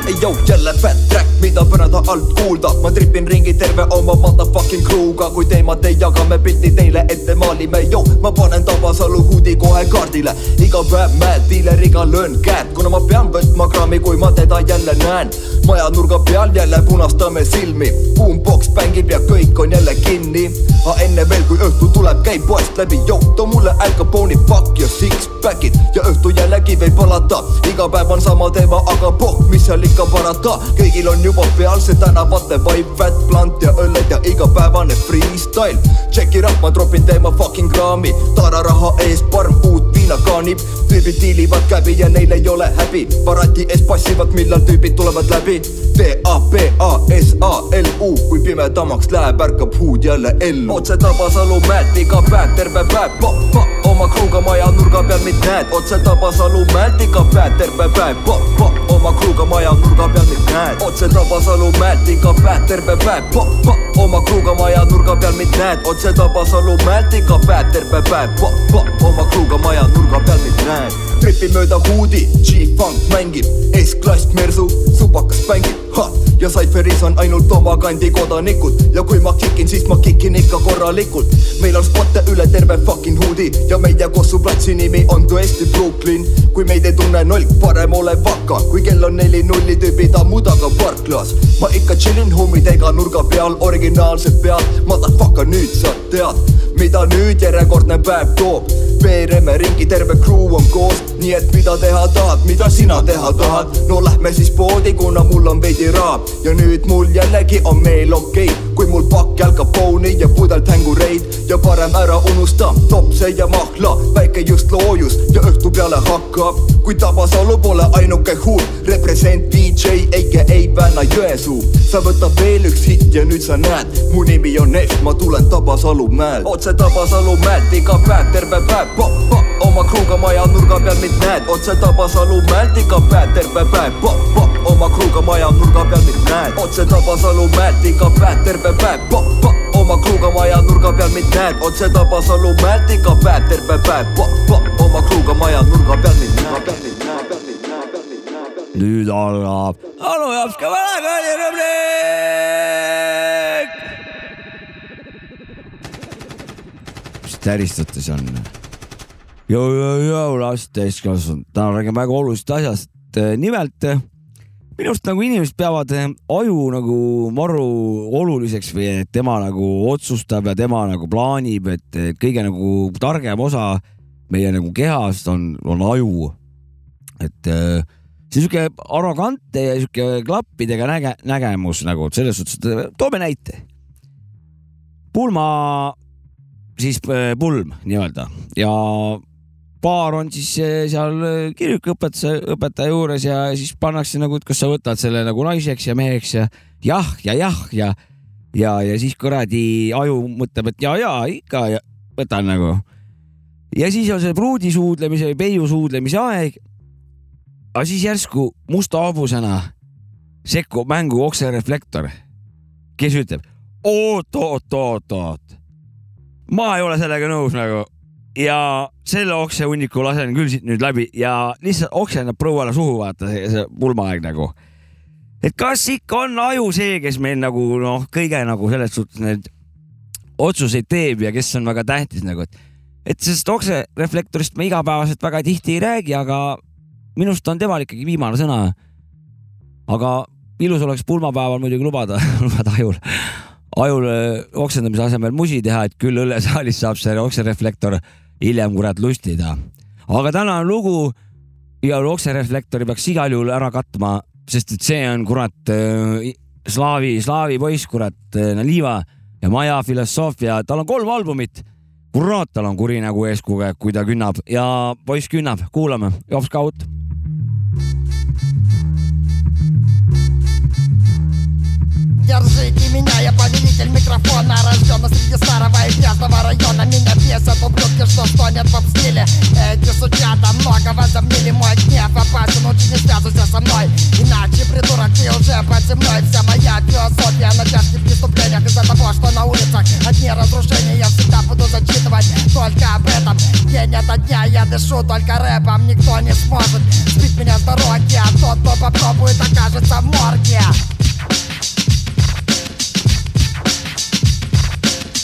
ei jõu jälle fat track , mida pärada alt kuulda . ma tripin ringi terve oma motherfucking crew'ga , kui teemat ei jaga , me pilti teile ette maalime . jõu , ma panen Tabasalu huudi kohe kaardile . iga päev mäed , diileriga löön käed , kuna ma pean võtma kraami , kui ma teda jälle näen . majanurga peal jälle punastame silmi . Boombox mängib ja kõik on jälle kinni . aga enne veel , kui õhtu tuleb , käib poest läbi . jõu , too mulle Al Capone'i fuck ja six-pack'id ja õhtu jällegi võib palata . iga päev on sama teema , aga pohh , mis seal ikka parata , kõigil on juba peal see see tänavate vibe , fat plant ja õlled ja igapäevane freestyle . Check it out , ma tropin teema fucking kraami , taararaha ees parm uut viina kaanib . tüübid diilivad käbi ja neil ei ole häbi , parati ees passivad , millal tüübid tulevad läbi . D-A-P-A-S-A-L-U , kui pimedamaks läheb , ärkab huud jälle ellu . otse Tabasalu mäed , iga päev terve päev , pa-pa oma kruuga maja nurga peal mind näed , otse Tabasalu mäelt iga päev terve päev , pa-pa oma kruuga maja nurga peal mind näed , otse Tabasalu mäelt iga päev terve päev , pa-pa oma kruuga maja nurga peal mind näed , otse Tabasalu mäelt iga päev terve päev , pa-pa oma kruuga maja nurga peal mind näed . tripi mööda huudi , G-Funk mängib , S-klass mersu , supakas mängib , ha ja Cypheris on ainult oma kandi kodanikud ja kui ma kikin , siis ma kikin ikka korralikult . meil on spotte üle terve fucking hoodi ja meie kossuplatsi nimi on tõesti Brooklyn . kui meid ei tunne nolk , parem ole vaka , kui kell on neli nulli , tüübid ammudaga parklas . ma ikka chillin hommidega nurga peal , originaalselt peal , motherfucker nüüd sa tead , mida nüüd järjekordne päev toob veereme ringi , terve crew on koos , nii et mida teha tahad , mida sina teha tahad , no lähme siis poodi , kuna mul on veidi raha ja nüüd mul jällegi on meel okei okay. , kui mul pakk Al Capone'i ja pudel tängureid ja parem ära unusta topse ja mahla , väike just loojus ja õhtu peale hakkab , kui Tabasalu pole ainuke hull , represent DJ AKA Vana-Jõesuu , sa võta veel üks hitt ja nüüd sa näed , mu nimi on Nef , ma tulen Tabasalu mäelt , otse Tabasalu mäelt iga päev , terve päev , pa-pa oma kruuga maja nurga peal mind näed , otse Tabasalu mäelt iga päev , terve päev , pa-pa oma kruuga maja nurga peal mind näed , otse Tabasalu mäelt iga päev , terve päev , pa-pa oma kruuga maja nurga peal mind näed , otse Tabasalu mäelt iga päev , terve päev , pa-pa oma kruuga maja nurga peal mind näed .
nüüd algab Anu Jopska vanakooli rubriik . mis täristate seal ? jõu , jõu , jõu , last täiskasvanud , täna räägime väga olulisest asjast . nimelt eh, minu arust nagu inimesed peavad eh, aju nagu maru oluliseks või et tema nagu otsustab ja tema nagu plaanib , et eh, kõige nagu targem osa meie nagu kehast on , on aju . et eh, see sihuke arrogante ja sihuke klappidega näge- , nägemus nagu selles suhtes , et toome näite . pulma , siis äh, pulm nii-öelda ja paar on siis äh, seal äh, kirikuõpetuse , õpetaja juures ja siis pannakse nagu , et kas sa võtad selle nagu naiseks ja meheks ja jah ja jah ja , ja , ja siis kuradi aju mõtleb , et ja , ja ikka ja võtan nagu . ja siis on see pruudi suudlemise või peiu suudlemise aeg aga siis järsku musta hobusena sekkub mängu oksereflektor , kes ütleb oot , oot , oot , oot . ma ei ole sellega nõus nagu ja selle oksehunniku lasen küll siit nüüd läbi ja lihtsalt oksendab prouale suhu , vaata see, see pulmaaeg nagu . et kas ikka on aju see , kes meil nagu noh , kõige nagu selles suhtes need otsuseid teeb ja kes on väga tähtis nagu , et , et sellest oksereflektorist me igapäevaselt väga tihti ei räägi , aga minu arust on temal ikkagi viimane sõna . aga ilus oleks pulmapäeval muidugi lubada , lubada ajul , ajul öö, oksendamise asemel musi teha , et küll õllesaalis saab see oksereflektor hiljem kurat lustida . aga täna on lugu ja oksereflektori peaks igal juhul ära katma , sest et see on kurat öö, slaavi , slaavi poiss , kurat öö, Naliva ja Maja filosoofia , tal on kolm albumit kurat , tal on kuri nägu ees , kui ta künnab ja poiss künnab , kuulame , Jops Kaut .
Держите меня, я повелитель микрофона Рожден среди старого и грязного района Меня бесят ублюдки, что стонет в обстиле Эти сучата много возомнили мой гнев Опасен, лучше не связывайся со мной Иначе, придурок, ты уже под землей Вся моя философия на тяжких преступлениях Из-за того, что на улицах одни разрушения Я всегда буду зачитывать только об этом День ото дня я дышу только рэпом Никто не сможет сбить меня с дороги А тот, кто попробует, окажется в морге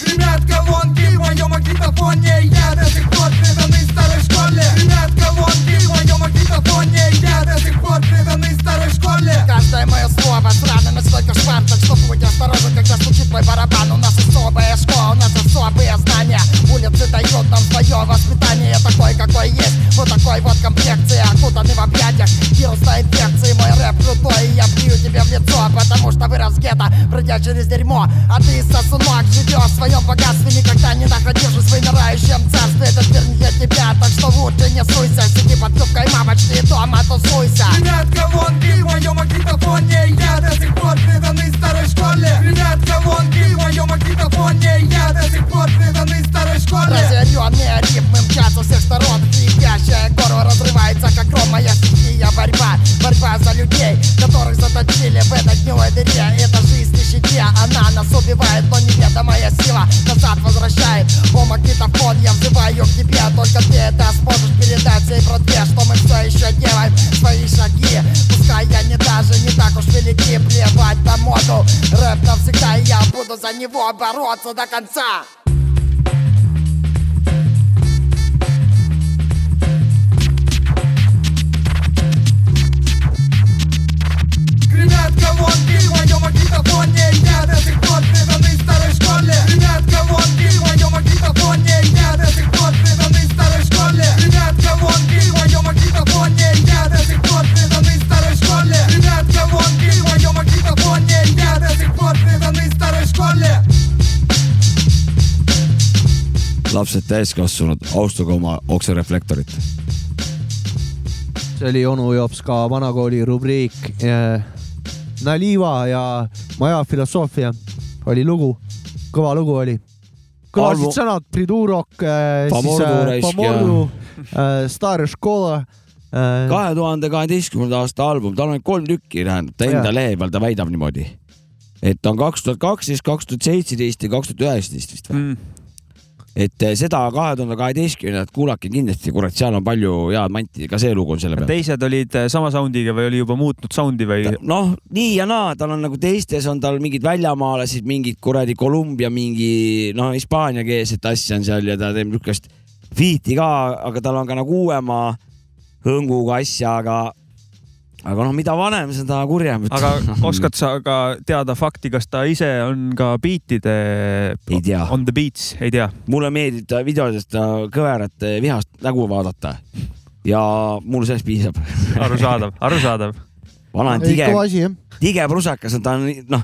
Гремят колонки в моем магнитофоне Я до сих пор преданный старой школе Гремят колонки в моем магнитофоне Я до сих пор преданный старой школе Каждое мое слово срано настолько в шпартах Что будь осторожен, когда стучит твой барабан У нас особая школа, у нас особые знания Улицы дают нам свое воспитание Такой, какой есть, вот такой вот комплекции Окутанный в объятиях вирусной инфекции Мой рэп крутой, и я плюю тебе в лицо потому что вырос в гетто, пройдя через дерьмо А ты, сосунок, живешь в своем богатстве Никогда не находившись в вымирающем царстве Этот мир не для тебя, так что лучше не суйся Сиди под юбкой мамочки и дома тусуйся
Ребят, колонки в моем магнитофоне Я до сих пор преданный старой школе Ребят, колонки в моем магнитофоне Я до сих пор преданный старой школе
Разъяренные ритмы мчат со всех сторон Крепящая горло разрывается, как гром Моя стихия борьба, борьба за людей Которых заточили в этой гнилой дыре Эта жизнь не щадя, она нас убивает Но неведомая сила назад возвращает О, магнитофон, я взываю к тебе Только ты это сможешь передать всей братве Что мы все еще делаем свои шаги Пускай я не даже не так уж велики Плевать на моду, рэп навсегда И я буду за него бороться до конца
Ребят, колонки в моем магнитофоне Я до сих пор преданный старой школе Ребят, колонки в моем магнитофоне Я до сих пор преданный старой школе Ребят, колонки в моем магнитофоне Я до сих пор преданный старой школе Ребят, колонки в моем магнитофоне Я до сих пор преданный старой школе
lapsed täiskasvanud , austage oma oksereflektorit .
see oli onu Jops ka vanakooli rubriik . Naliiva ja Maja filosoofia oli lugu , kõva lugu oli . kõlasid
Arvo-
sõnad Pridurok ,
Pomordu
Eh, siis
raisk ja-
Pomordu , Stare äh, Škola . äh,
kahe tuhande kaheteistkümnenda aasta album , tal on kolm tükki , tähendab ta enda
Jaa.
lehe peal ta väidab niimoodi , et on kaks tuhat kaksteist , kaks tuhat seitseteist ja kaks tuhat üheksateist vist või ?
mm. .
et eh, seda kahe tuhande kaheteistkümnendat kuulake kindlasti , kurat , seal on palju head manti , ka see lugu on selle peal .
teised olid eh, sama sound'iga või oli juba muutnud sound'i või ?
noh , nii ja naa , tal on nagu teistes on tal mingid väljamaalased , mingid kuradi Kolumbia mingi noh , hispaaniakeelset asja on seal ja ta teeb niisugust beat'i ka , aga tal on ka nagu uuema hõnguga asja , aga , aga noh , mida vanem , seda kurjem .
aga oskad sa ka teada fakti , kas ta ise on ka beat'ide
Ei tea.
on the beats , ei tea ?
mulle meeldib ta videodest ta kõverate vihast nägu vaadata ja mul sellest piisab .
arusaadav , arusaadav .
vana on tige ,
kõva asi jah .
tige prusakas on ta on noh ,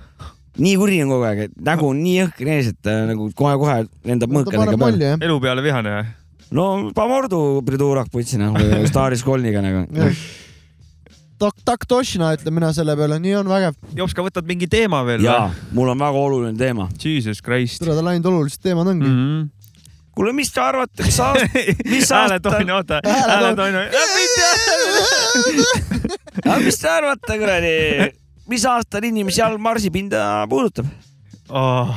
nii kuri on kogu aeg , et nägu on nii õhkne ees , et ta nagu kohe-kohe lendab
ta
mõõkadega
paneb
peale .
mulje jah .
elu peale vihane või ?
no Pamordu priduurak putsi noh , staaris kolniga nagu .
Tak- , Taktošina ütlen mina selle peale , nii on vägev .
Jops , ka võtad mingi teema veel
ja
või ?
mul on väga oluline teema .
Jesus Christ .
tere , tal ainult olulised teemad ongi .
Mm
Mhm. kuule , mis te arvate , mis aasta , mis
-hmm. hääle
aasta ,
Toino , oota , hääle Toino .
mis te arvate kuradi , mis aastal inimesi all marsipinda puudutab ?
Oh.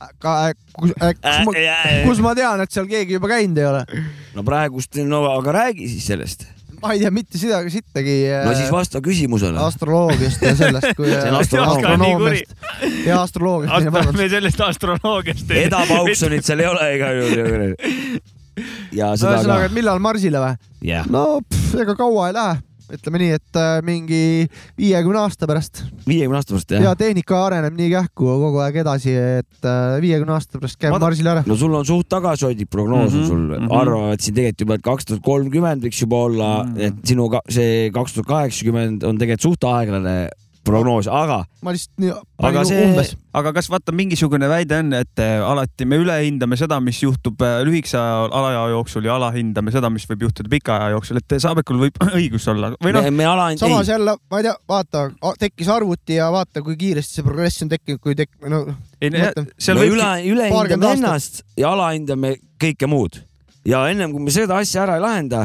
aga kus ,
Äh,
kus ma , kus ma tean , et seal keegi juba käinud ei ole ?
no praegust , no aga räägi siis sellest .
ma ei tea mitte sidagi , sittagi
no siis
äh,
vasta küsimusele .
astroloogiast ja sellest , kui
See on astroloogia.
astronoomiast ja astroloogiast .
me sellest astroloogiaast ei
edapauksonit seal ei ole igal juhul . ja seda
ühesõnaga ,
ka .
et millal Marsile või ?
jah ,
no pff, ega kaua ei lähe , ütleme nii , et äh, mingi viiekümne aasta pärast
viiekümne aasta pärast
ja
jah .
tehnika areneb nii kähku kogu aeg edasi , et äh, viiekümne aasta pärast käib
Ma-
Marsile ära .
no sul on suht tagasihoidlik prognoos on
Mhm,
sul
mhm. ,
arvavad siin tegelikult juba , et kaks tuhat kolmkümmend võiks juba olla ,
Mhm.
et sinu ka, see kaks tuhat kaheksakümmend on tegelikult suht aeglane prognoos , aga ,
ma lihtsalt nii
aga
panin
see
umbes .
aga kas vaata mingisugune väide on , et eh, alati me ülehindame seda , mis juhtub eh, lühikese aja alaja jooksul ja alahindame seda , mis võib juhtuda pika aja jooksul , et Saabekul võib õigus olla või noh
me, , me ala ,
samas
ei ,
jälle , ma ei tea , vaata , tekkis arvuti ja vaata , kui kiiresti see progress on tekkinud , kui tek- , no mõtlen.
seal
me
võib
üle ,
paarkümmend
ülehindame
aastat.
ennast ja alahindame kõike muud . ja ennem kui me seda asja ära ei lahenda ,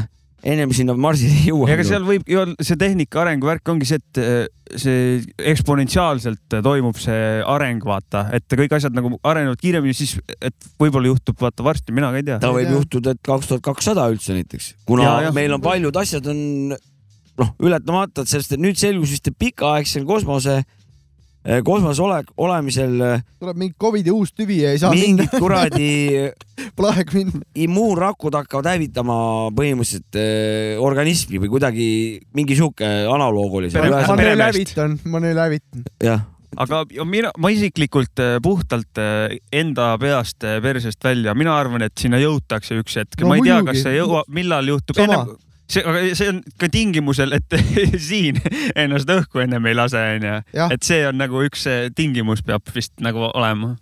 ennem sinna marsile ei jõua .
ega seal võib ju olla , see tehnika arenguvärk ongi see , et eh, see eksponentsiaalselt äh, toimub see areng , vaata , et kõik asjad nagu arenevad kiiremini , siis et võib-olla juhtub , vaata varsti , mina ka ei tea .
ta võib
tea.
juhtuda , et kaks tuhat kakssada üldse näiteks , kuna ja,
Jaa, jah.
meil on paljud asjad on noh , ületamata , et sellest et nüüd selgus vist , et pikaaegsel kosmose , kosmoses olek , olemisel eh,
tuleb mingi Covidi uus tüvi ja ei saa minna ,
mingid kuradi
pole aeg minna .
immuunrakud hakkavad hävitama põhimõtteliselt eh, organismi või kuidagi mingi sihuke analoog oli seal
Pere- .
ma neile
meremeest.
hävitan , ma neile hävitan .
jah ,
aga mina , ma isiklikult eh, puhtalt eh, enda peast äh, eh, persest välja , mina arvan , et sinna jõutakse üks hetk
No
no, . ma ei tea ,
muidugi.
kas see jõuab , millal juhtub ,
Sama.
ennem , see , aga see on ka tingimusel , et siin ennast õhku ennem ei lase , onju .
Jah.
et see on nagu üks eh, tingimus peab vist nagu olema .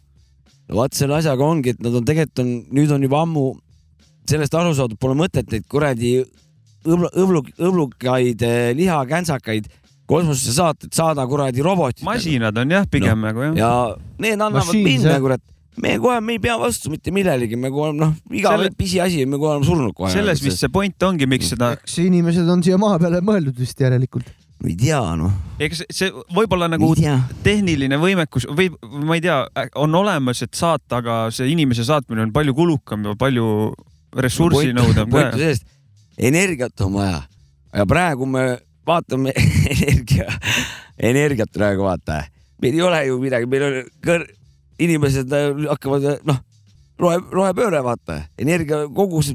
no vaat selle asjaga ongi , et nad on tegelikult on , nüüd on juba ammu sellest aru saadud , pole mõtet neid kuradi õblu , õblu , õblukaid , lihakänsakaid kosmosesse saata , et saada kuradi robotid .
masinad on jah , pigem no. nagu jah ja. .
ja need annavad
Machines,
pinda
jah. ,
kurat . me kohe , me ei pea vastu mitte millelegi , me kohe oleme , noh , iga
Selle-
Selle... pisiasi , me kohe oleme surnud kohe .
selles vist see point ongi , miks seda ,
eks inimesed on siia maa peale mõeldud vist järelikult .
ma ei tea , noh ,
ega see, see võib-olla nagu
ei tea .
tehniline võimekus või või ma ei tea , on olemas , et saata , aga see inimese saatmine on palju kulukam ja palju ressurssi nõudev
point on
ka .
selles , energiat on vaja ja praegu me vaatame energia , energiat praegu vaata , meil ei ole ju midagi , meil on kõr- , inimesed äh, hakkavad äh, noh , rohe , rohepööre vaata , energia kogus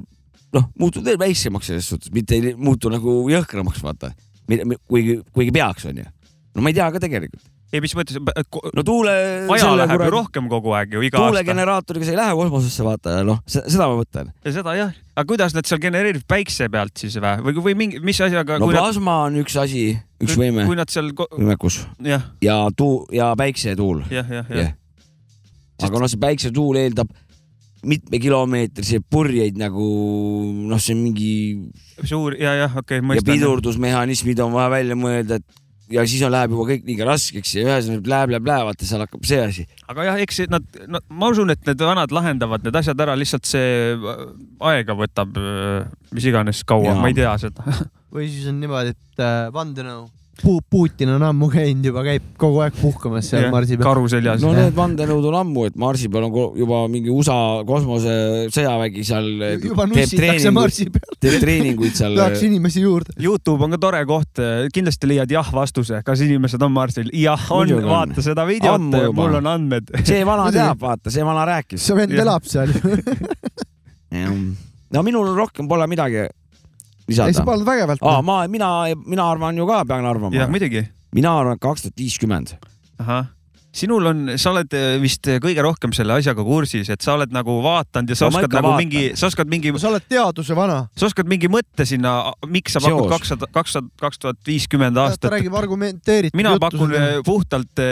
noh , muutub veel väiksemaks selles suhtes , mitte ei muutu nagu jõhkramaks vaata , kuigi , kuigi peaks onju . no ma ei tea ka tegelikult ,
ei , mis mõttes ,
no tuule .
aja läheb ju rohkem kogu aeg ju iga aasta .
tuulegeneraatoriga sa ei lähe kosmosesse vaata , noh , seda ma mõtlen .
ja seda jah , aga kuidas nad seal genereerivad päikse pealt siis või , või , või mingi , mis asjaga ,
no
kui nad ,
plasma on üks asi , üks võime ,
kui nad seal ,
võimekus
jah ,
ja tuu- ja päiksetuul .
jah , jah , jah
Jah. aga noh , see päiksetuul eeldab mitmekilomeetriseid purjeid nagu noh , see on mingi
suur ja , jah , okei ,
ja
mõistan .
pidurdusmehhanismid on vaja välja mõelda , et ja siis on , läheb juba kõik liiga raskeks ja ühesõnaga läheb , läheb , läheb , vaata seal hakkab see asi .
aga jah , eks nad, nad , ma usun , et need vanad lahendavad need asjad ära , lihtsalt see äh, aega võtab , mis iganes kaua ,
Jaa.
Oh, ma ei tea seda .
või siis on niimoodi , et äh, vandenõu . Putin on ammu käinud juba , käib kogu aeg puhkamas seal yeah, Marsi peal .
karu seljas
no
no, .
need vandenõud on ammu , et Marsi peal on ko- juba mingi USA kosmosesõjavägi seal
juba
teeb
nussitakse
treeninguid ,
Marsi peal ,
teeb treeninguid seal . eh,
tahaks inimesi juurde .
Youtube on ka tore koht , kindlasti leiad jah vastuse , kas inimesed on Marsil . jah , on
Muidugi , on.
vaata seda videot
Ammu , juba.
mul on andmed .
see vana
Muidugi.
teab , vaata , see vana rääkis .
see vend
Jah.
elab seal ju .
no minul rohkem pole midagi
ei , sa
lisada .
paned vägevalt
Aa, . ma , mina , mina arvan ju ka , pean
jah ,
arvama .
muidugi .
mina arvan , et kaks tuhat viiskümmend .
ahah , sinul on , sa oled äh, vist kõige rohkem selle asjaga kursis , et sa oled nagu vaatanud ja sa
No ma
oskad
ikka
nagu
vaatan.
mingi , sa oskad mingi ,
sa oled teaduse vana .
sa oskad mingi mõtte sinna , miks sa pakud
Seos.
kakssada , kakssada , kaks tuhat viiskümmend
ta
aastat .
räägib argumenteeritud
mina pakun . puhtalt ,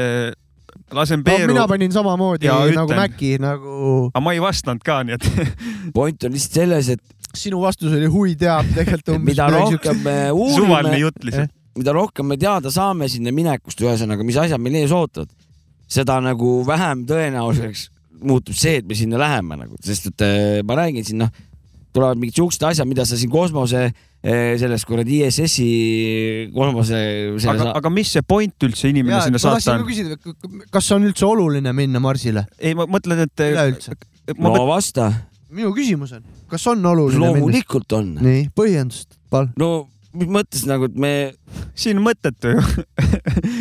lasen peeru
mina , panin samamoodi
Jaa,
nagu
ütlen.
Maci , nagu
aga ma ei vastanud ka , nii et
point on lihtsalt selles , et
sinu vastus oli hui teab tegelikult umbes .
mida rohkem me
suvaline
uurime , Eh?
jutt lihtsalt .
mida rohkem me teada saame sinna minekust , ühesõnaga , mis asjad meil ees ootavad , seda nagu vähem tõenäoliseks muutub see , et me sinna läheme nagu , sest et äh, ma räägin siin , noh , tulevad mingid siuksed asjad , mida sa siin kosmose , selles kuradi ISS-i kosmose ,
aga , aga mis see point üldse inimene
Jaa,
sinna
et ma
saata
tahtsin
on
ka ? küsida , kas on üldse oluline minna Marsile
ei , ma mõtlen , et eh,
üleüldse ?
ma
no vasta ,
minu küsimus on , kas on oluline minna ?
loomulikult on .
nii , põhjendust , palun .
no mis mõttes nagu , et me
mõtlen , siin mõttetu ju .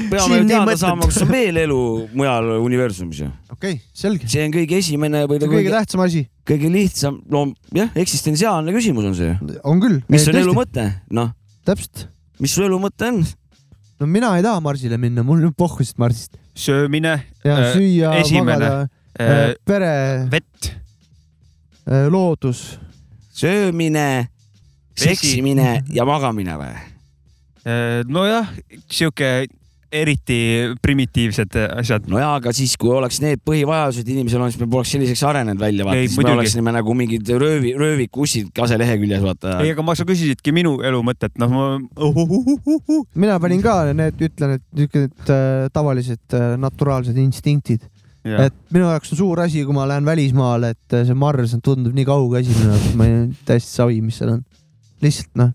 peame
Siin
ju
nii
teada
mõtled.
saama , kas on veel elu mujal universumis ju .
okei okay, , selge .
see on kõige esimene või
see
nagu
on kõige
kõige,
tähtsam asi ,
kõige lihtsam , no jah , eksistentsiaalne küsimus on see .
on küll .
mis on elu ? mõte , noh ,
täpselt .
mis su elu mõte on ?
no mina ei taha Marsile minna , mul on pohhusid Marsist .
söömine ,
ja
Äh,
süüa ,
esimene. eh,
magada , pere ,
vett ,
loodus .
söömine ,
Vesi.
seksimine ja magamine või ?
Äh, nojah , sihuke eriti primitiivsed äh, asjad .
nojaa , aga siis , kui oleks need põhivajadused inimesel on , siis me poleks selliseks arenenud välja , vaata ,
Ei,
siis me
muidugi.
oleksime nagu mingid röövi , röövikussid kase leheküljes , vaata .
ei , aga ma , sa küsisidki minu elu mõtet , noh ma ,
mina panin ka need , ütlen , et niisugused äh, tavalised äh, naturaalsed instinktid . et minu jaoks on suur asi , kui ma lähen välismaale , et äh, see Mars on- tundub nii kauge asi minu jaoks , ma ei täiesti savi , mis seal on . lihtsalt noh ,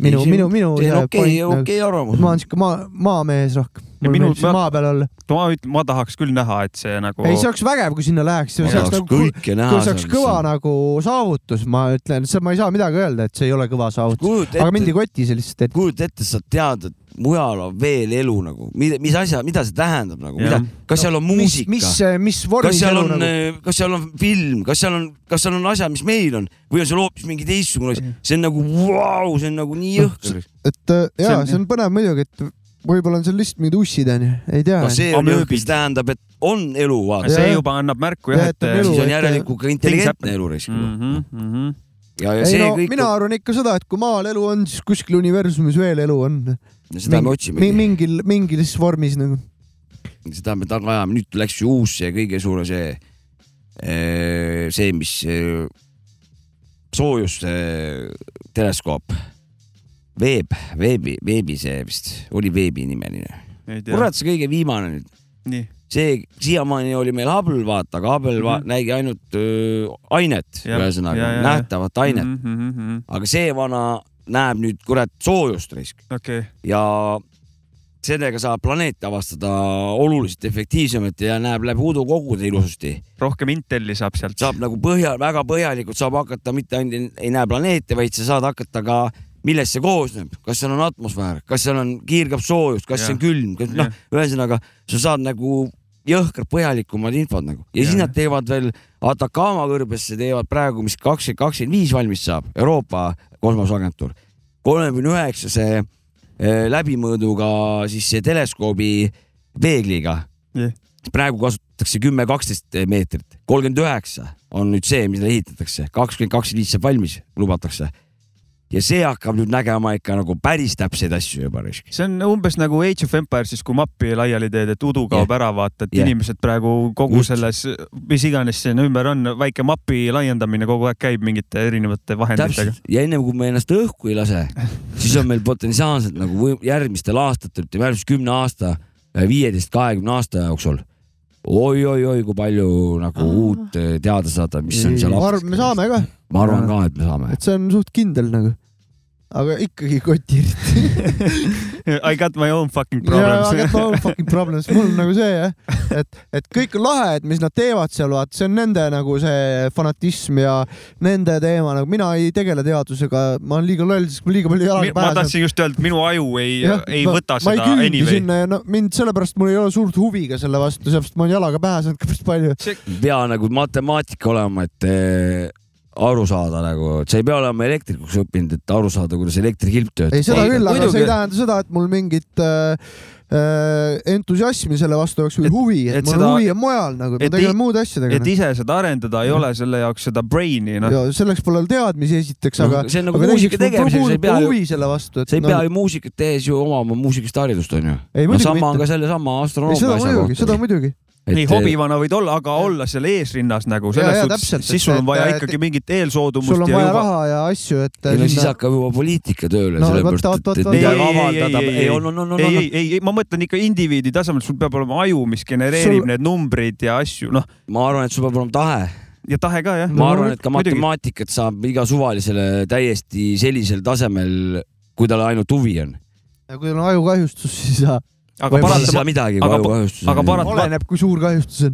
minu ,
Ei, see-
minu , minu .
see on okei , okei arvamus .
ma olen siuke maa , maamees rohkem .
Ja
mul
minu-
meeldib siin maa peal olla .
ma ütlen , ma tahaks küll näha , et see nagu
ei , see oleks vägev , kui sinna läheks , see
ma
oleks
tahaks
nagu ,
kõike näha .
see oleks kõva nagu saavutus , ma ütlen , ma ei saa midagi öelda , et see ei ole kõva saavutus .
kujuta
aga
ette
mindi , kotti see lihtsalt , et
kujuta ette , sa tead , et mujal on veel elu nagu , mis asja , mida see tähendab nagu ,
Jah.
mida , kas seal on
mis ,
muusika ,
mis , mis
kas
vormis
seal
elu
on äh,
nagu ,,
kas seal on film , kas seal on , kas seal on asjad , mis meil on või on seal hoopis mingi teistsugune asi , see on nagu vau , see on nagu nii
Noh,
jõhker .
et äh,
see
jaa
on- ,
see on põnev muidugi , et võib-olla on seal lihtsalt mingid ussid onju , ei tea .
no Noh, see on
Amööbid.
jõhker , mis tähendab , et on elu , vaata .
see
Jah.
juba annab märku jah , et äh,
Jätab elu. äh,
siis on järelikult ka intelligentne elu raisk .
Mhm, mhm.
ja , ja
ei
see
no
kõik ,
mina arvan ikka seda , et kui maal elu on , siis kuskil universumis veel elu on .
seda me otsimegi ,
mingil , mingis vormis nagu .
seda me taga ajame , nüüd läks ju uus see kõige suurem see , see , mis eh, soojus eh, teleskoop , veeb , veebi , veebi see vist oli veebi nimeline , kurat , see kõige viimane nüüd .
nii ,
see siiamaani oli meil Hubble , vaata , aga Hubble mm -hmm. nägi ainult öö, ainet ,
Mhm. Jah, ja,
ühesõnaga
ja, Mhm. ja.
nähtavat ainet mm ,
ainet .
-hmm. aga see vana näeb nüüd kurat soojust risk
okei ,
ja sellega saab planeete avastada oluliselt efektiivsemalt ja näeb läbi udukogude ilusasti .
rohkem Inteli saab sealt .
saab nagu põhja , väga põhjalikult saab hakata , mitte ainult ei näe planeete , vaid sa saad hakata ka , millest see koosneb , kas seal on atmosfäär , kas seal on kiirgab soojus , kas see on
Jah.
külm , kas noh , ühesõnaga sa saad nagu jõhker põhjalikumad infod nagu ja, ja siis
Jah.
nad teevad veel Atacama kõrbesse teevad praegu , mis kakskümmend kakskümmend viis valmis saab , Euroopa kosmoseagentuur , kolmekümne üheksase läbimõõduga siis see teleskoobi peegliga
Jah.
praegu kasutatakse kümme , kaksteist meetrit , kolmkümmend üheksa on nüüd see , mida ehitatakse , kakskümmend kakskümmend viis saab valmis , lubatakse . ja see hakkab nüüd nägema ikka nagu päris täpseid asju juba risk .
see on umbes nagu Age of Empires'is , kui mappi laiali teed , et udu kaob ära , vaata , et
Jah.
inimesed praegu kogu
Just.
selles , mis iganes siin ümber on , väike mapi laiendamine kogu aeg käib mingite erinevate vahenditega .
täpselt ja ennem kui me ennast õhku ei lase , siis on meil potentsiaalselt nagu või- järgmistel aastatel , ütleme järgmise kümne aasta , viieteist , kahekümne aasta jooksul oi-oi-oi , kui palju
Ah.
nagu uut eh, teada saada , mis on seal .
me saame ka ,
ma arvan ka , et me saame .
et see on suht kindel nagu . aga ikkagi kotiriti .
I got my own fucking
aga
problems .
et mul fucking problems , mul on nagu see jah , et , et kõik on lahe , et mis nad teevad seal , vaata , see on nende nagu see fanatism ja nende teema , nagu mina ei tegele teadusega , ma olen liiga loll , sest mul liiga palju
Mi-
jalaga
ma
on.
tahtsin just öelda , et minu aju ei äh,
Jah, ,
ei
ma-
võta
ma ei
seda
küündi
anyway .
sinna ja no mind sellepärast mul ei ole suurt huvi ka selle vastu , sellepärast ma olen jalaga pähe saanud ka päris palju .
ei pea nagu matemaatika olema , et eh, aru saada nagu , et sa ei pea olema elektrikuks õppinud , et aru saada , kuidas elektrikilp töötab .
ei , seda
Ei,
küll , aga
muidugi.
see ei tähenda seda , et mul mingit äh, äh, entusiasmi selle vastu oleks või huvi ,
et
et mul
seda-
huvi on mujal nagu ,
et
ma tegelen
ei-
muude asjadega noh.
et . ise seda arendada ei ole selle jaoks seda brain'i , noh .
ja selleks pole teadmisi esiteks ,
No
aga
see on nagu
aga
muusika
teiseks
tegemisega,
mul
sa ei
puudub
pea
ka
ju-
huvi selle vastu , et
sa ei pea ju muusikat tehes ju omama muusikast haridust , onju .
Ei,
no
muidugi
sama on
mitte.
ka sellesama
ei ,
astronoomi
seda muidugi , seda . muidugi .
ei , hobivana võid olla , aga olla seal eesrinnas nagu
Ja,
selles
ja,
suhtes
täpselt, , et-
siis sul on vaja
et-
ikkagi mingit eelsoodumust
sul on
ja
vaja
juba .
raha ja asju , et
ei no siis
sinna-
hakkab juba poliitika tööle ,
No
sellepärast
vot,
et ,
vot,
et
vot,
midagi
vot.
avaldada . ei , ei , on , on , on , on ,
ei ,
on .
ei , ei , ma mõtlen ikka indiviidi tasemel , sul peab olema aju , mis genereerib
Sul-
need numbrid ja asju , noh ,
ma arvan , et sul peab olema tahe .
ja tahe ka jah .
ma arvan , et ka . matemaatikat saab iga suvalisele täiesti sellisel tasemel , kui tal ainult huvi on .
ja kui on ajukahjustus , siis ja.
aga
siis ei
paratama-
saa midagi , kui
aga pa-
ajukahjustus
aga parat-
oleneb , kui suur kahjustus on .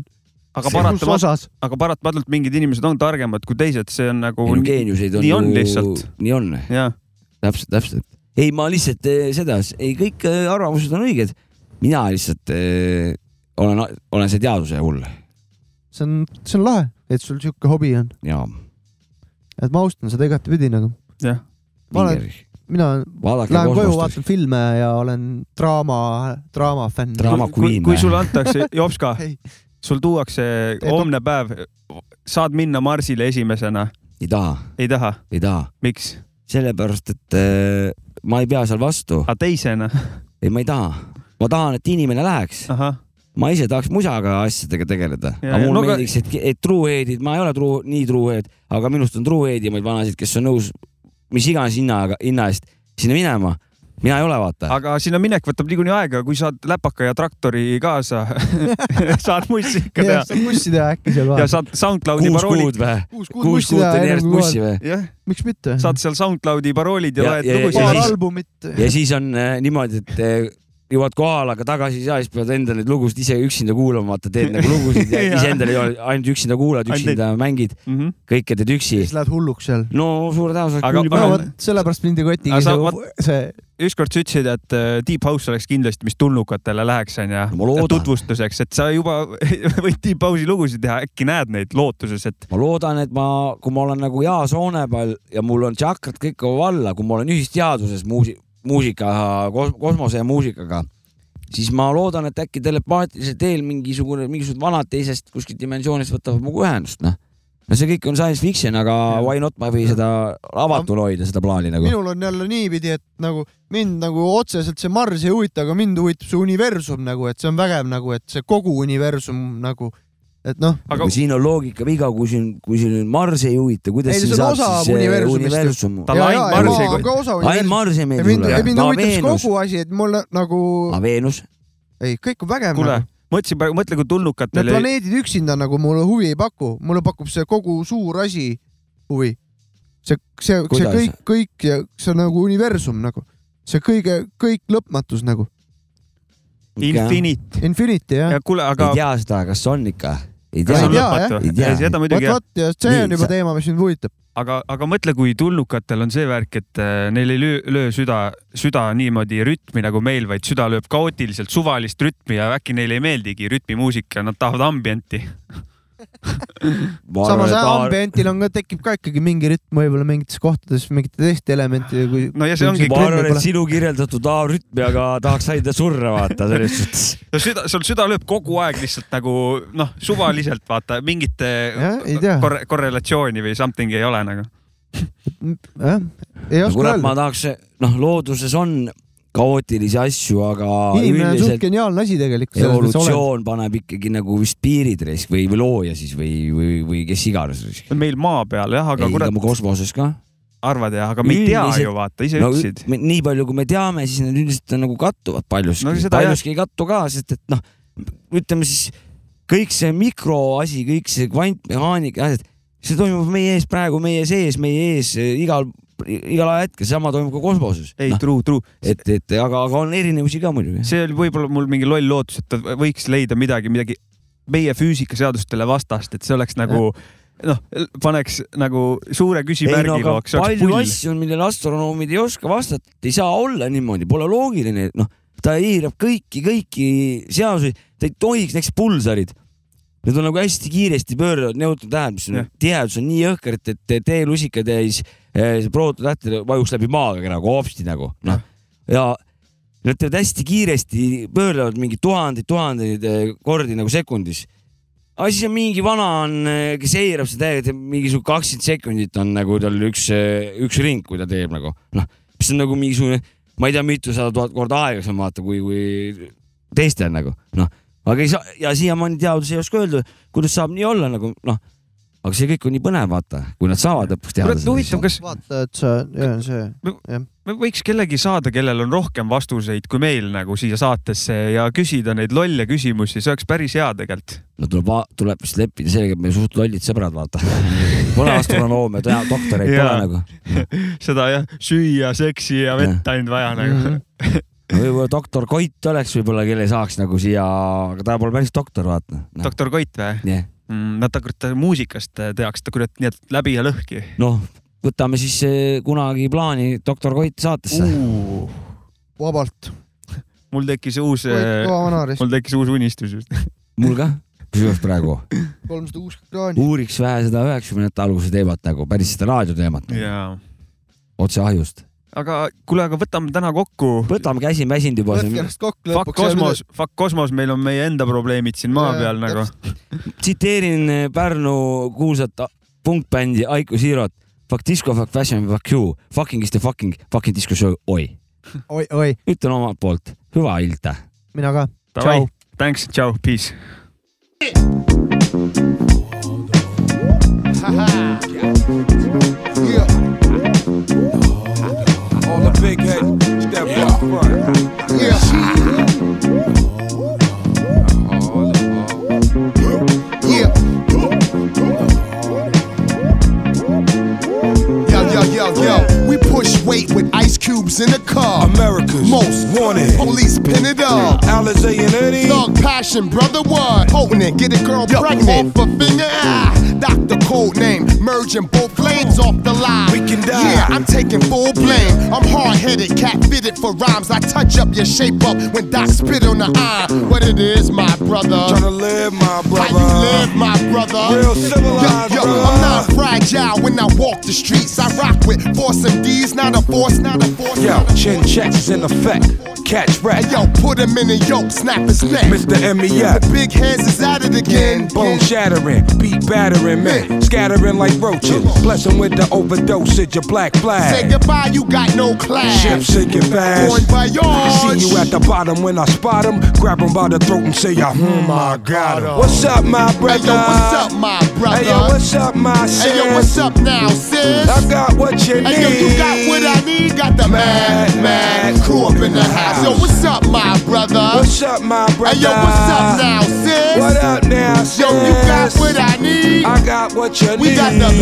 aga paratamatult ,
osas .
aga paratamatult mingid inimesed on targemad kui teised , see on nagu .
ei no geeniuseid on
nii on
ju-
lihtsalt.
nii on ,
jah ,
täpselt , täpselt . ei , ma lihtsalt eh, seda , ei kõik eh, arvamused on õiged . mina lihtsalt eh, olen , olen see teaduse hull
see on , see on lahe , et sul sihuke hobi on ,
ja .
et ma austan seda igatepidi nagu .
jah .
Ma olen- mina
vaadake
lähen koju ,
kosmostust ,
vaatan filme ja olen draama , draama fänn .
Draama queen, eh.
kui
jah.
sulle antakse , Jopska
Ei. ,
sul tuuakse
top-
homne päev , saad minna Marsile esimesena ,
ei taha ,
ei taha ,
ei taha ,
miks ?
sellepärast et eh, ma ei pea seal vastu ,
aga Ah, teisena ,
ei , ma ei taha , ma tahan , et inimene läheks ,
ahah ,
ma ise tahaks musaga asjadega tegeleda ,
Ja,
aga
ja,
mulle
no
no,
aga-
meeldiks , et , et truehead'id , ma ei ole truu , nii truehead , aga minust on truehead'i maid vanasid , kes on nõus mis iganes hinnaga , hinna eest sinna minema , mina ei ole , vaata .
aga sinna minek võtab niikuinii aega , kui saad läpaka ja traktori kaasa , saad mussika teha
ja saad bussi teha äkki seal
ja
vahel .
saad SoundCloudi
kuus
paroolid ,
kuud või ?
kuus
kuus kuud teen järjest bussi või ?
jah ,
miks mitte ?
saad seal SoundCloudi paroolid ja
Ja-
loed
ja- ja
paar
lugusid .
siis-
albumit .
ja siis on äh, niimoodi , et äh, jõuad kohale , aga tagasi ei saa , siis pead endale neid lugusid ise üksinda kuulama , vaata teed nagu lugusid ja
Jaa.
iseendale ei ole- ainult üksinda kuulad ,
Ainult Mhm.
üksinda mängid , kõike teed üksi .
siis lähed hulluks seal .
no suure tõenäosusega
Aga-
küll
no
Aga-
juba
vot , sellepärast mind ei koti
Aga sa-
see , see
ükskord sa ütlesid , et äh, Deep House oleks kindlasti , mis tulnukatele läheks ,
ma
onju
loodan. .
tutvustuseks , et sa juba võid Deep House'i lugusid teha , äkki näed neid lootuses , et
ma loodan , et ma , kui ma olen nagu hea soone peal ja mul on tšakrad kõik kaua alla , kui ma olen ühisteaduses muusi- , muusika , kosmose ja muusikaga , siis ma loodan , et äkki telepaatilisel teel mingisugune , mingisugused vanad teisest kuskilt dimensioonist võtavad mu ühendust , noh . no see kõik on science fiction , aga why not ma ei või seda avatuna hoida , seda plaani nagu .
minul on jälle niipidi , et nagu mind nagu otseselt see Marss ei huvita , aga mind huvitab see universum nagu , et see on vägev nagu , et see kogu universum nagu , et noh ,
aga
kui siin on loogikaviga , kui siin , kui siin nüüd Mars ei huvita , kuidas
Ei,
siin
see
saab
on osa
siis see
universumist ju.
universum .
Tal
Jaa,
ainult
jaa,
Marss
ei,
ei
ma-
kohta .
ka osa
ainult
universumist .
Mars ei meeldi
mind ,
mulle .
mind
aga
huvitab see
Veenus ,
kogu asi , et mulle nagu ,
aga Veenus ,
ei , kõik on vägev
kuule
nagu .,
mõtlesin praegu , mõtle kui tulnukad
Need
teil oli .
planeedid üksinda nagu mulle huvi ei paku , mulle pakub see kogu suur asi huvi . see , see , see
Kuidas?
kõik , kõik ja see on nagu universum nagu , see kõige , kõik lõpmatus nagu ,
Infinite .
infinity jah
ja . kuule , aga
ei tea seda , kas on ikka , ei
kas
tea
Ei
on
tea, .
jah.
lõpmatu
Ei tea. ?
seda
vot ,
muidugi jah ,
vot ja see
Nii,
on juba
sa-
teema , mis mind huvitab .
aga , aga mõtle , kui tulnukatel on see värk , et äh, neil ei löö , löö süda , süda niimoodi rütmi nagu meil , vaid süda lööb kaootiliselt suvalist rütmi ja äkki neile ei meeldigi rütmimuusika , nad tahavad ambienti .
samas jah , ambientil on ka , tekib ka ikkagi mingi rütm võib-olla mingites kohtades mingite teiste elementidega , kui
no ja see
Kui
ongi
juba-
ma arvan ,
Kremli
et sinu kirjeldatud A-rütmi , aga tahaks saida surra vaata selles suhtes .
no süda , sul süda lööb kogu aeg lihtsalt nagu noh , suvaliselt vaata mingite
Jah, ei tea.
korre, korrelatsiooni või something ei ole nagu .
jah , ei
no
oska
kurat , ma
öelda .
tahaks , noh , looduses on kaootilisi asju , aga
inimene on suht
üldiselt
geniaalne asi tegelikult .
evolutsioon paneb ikkagi nagu vist piirid risk või , või looja siis või , või , või kes iganes risk .
meil maa peal jah ,
ei ,
aga
ega
kurat
ma kosmoses ka .
arvad jah , aga me ei tea
Üldiselt-
ju vaata , ise
no
ütlesid .
me- nii palju , kui me teame , siis need üldiselt on nagu kattuvad paljuski
No
no, ,
seda
paljuski ei kattu ka , sest et noh , ütleme siis kõik see mikroasi , kõik see kvantmehaanika , see toimub meie ees praegu , meie sees , meie ees eh, igal , igal ajahetkel , sama toimub ka kosmoses .
ei no. , true , true .
et , et aga , aga on erinevusi ka muidugi .
see oli võib-olla mul mingi loll lootus , et ta võiks leida midagi , midagi meie füüsikaseadustele vastast , et see oleks nagu noh , paneks nagu suure
ei no
küsimärgi
aga
looks , see oleks
palju
pull .
asju on , millele astronoomid ei oska vastata , ei saa olla niimoodi , pole loogiline , noh , ta eirab kõiki , kõiki seadusi , ta ei tohiks , näiteks pulsarid . Need on nagu hästi kiiresti pööravad neutron tähed , mis
Jah.
on tihedus on nii jõhker , et , et teelusika täis proototähtede eh, vajuks läbi maaga nagu hopsti nagu noh , ja nad teevad hästi kiiresti , pöörlevad mingi tuhandeid-tuhandeid eh, kordi nagu sekundis aga siis on mingi vana on , kes eirab seda täiega , teeb mingisugune kakskümmend sekundit on nagu tal üks , üks ring , kui ta teeb nagu noh , mis on nagu mingisugune , ma ei tea , mitusada tuhat korda aeglasem vaata , kui , kui teistel nagu noh , aga ei saa ja siiamaani teadus ei oska öelda , kuidas saab nii olla nagu noh , aga see kõik on nii põnev , vaata , kui nad saavad lõpuks teada
kurat , huvitav ,. kas
vaata , et sa , jah , see ,
me võiks kellegi saada , kellel on rohkem vastuseid kui meil nagu siia saatesse ja küsida neid lolle küsimusi , see oleks päris hea tegelikult .
no tuleb , tuleb vist leppida sellega , et me suht lollid sõbrad , vaata . Pole astronoome , doktoreid pole
Jaa.
nagu .
seda jah , süüa , seksi ja vett ainult vaja nagu .
Mhm. võib-olla doktor Koit oleks võib-olla , kelle saaks nagu siia , aga ta pole päris doktor , vaata no. .
doktor Koit või ?
jah ,
no ta kurat ta muusikast tehakse , ta kurat nii et läbi ja lõhki .
noh , võtame siis eh, kunagi plaani doktor Koit saatesse uh. .
vabalt .
mul tekkis uus ,
kõva
mul
vanarist ,
tekkis uus unistus just .
mul ka , kusjuures praegu
kolmsada kuuskümmend kraani .
uuriks vähe seda üheksakümnendate alguse teemat nagu , päris seda raadioteemat yeah. ,
jaa .
otse ahjust .
aga kuule , aga võtame täna kokku .
võtame käsi väsinud juba
võtke
siin ,
ennast kokku
Fuck
lõpuks .
kosmos , fuck kosmos , meil on meie enda probleemid siin maa peal nagu .
tsiteerin eh, Pärnu kuulsat a- punkbändi Aiko Siirot . Fuck disco , fuck fashion , fuck you , fucking is the fucking , fucking disco show , oi .
oi , oi ,
ütlen omalt poolt , hüva ilta .
mina ka .
Davai , thanks , tšau , peace .
On the big head, step up front.
Yeah. Yo, yo, yo, yo. We push weight with ice cubes in the car.
America's
Most
wanted.
Police pin it up.
Alizé and Eddie.
Thug passion, brother one. Potent, get a girl pregnant. Off a finger, ah. Doctor code name, merging both lanes off the line. We can die. Yeah, I'm taking full blame. I'm hard headed, cat fitted for rhymes. I touch up your shape up when Doc spit on the eye. What it is, my brother.
Tryna live, my brother.
How you live, my brother.
Real civilized,
Yo, yo,
brother.
I'm not fragile when I walk the streets. I rock with force and D's, not a force, not a force.
Yo,
not a
chin checks is in effect. Catch
Hey,
rat.
yo, put him in a yoke, snap his neck.
Mr. MEF.
The big hands is at it again.
E Bone shattering, beat battering, man. Scattering like roaches. Bless 'em with the overdosage of black
Say
flag.
goodbye, you got no class.
Ship sinking
Going
fast.
by
I
yards.
See you at the bottom when I spot 'em. Grab 'em by the throat and say, I hmm, I got 'em." What's up, my brother?
Hey, yo, what's up, my brother?
Hey, yo, what's up, my sis?
Hey, yo, what's up now, sis?
I got what you need.
Hey, yo, you got what I need. Got the mad, mad crew up in the house. Yo, what's up, my brother?
What's up, my brother?
Hey, yo, what's up now, sis?
What up now, sis?
Yo, you got what I need.
I got what you
We
need.
got the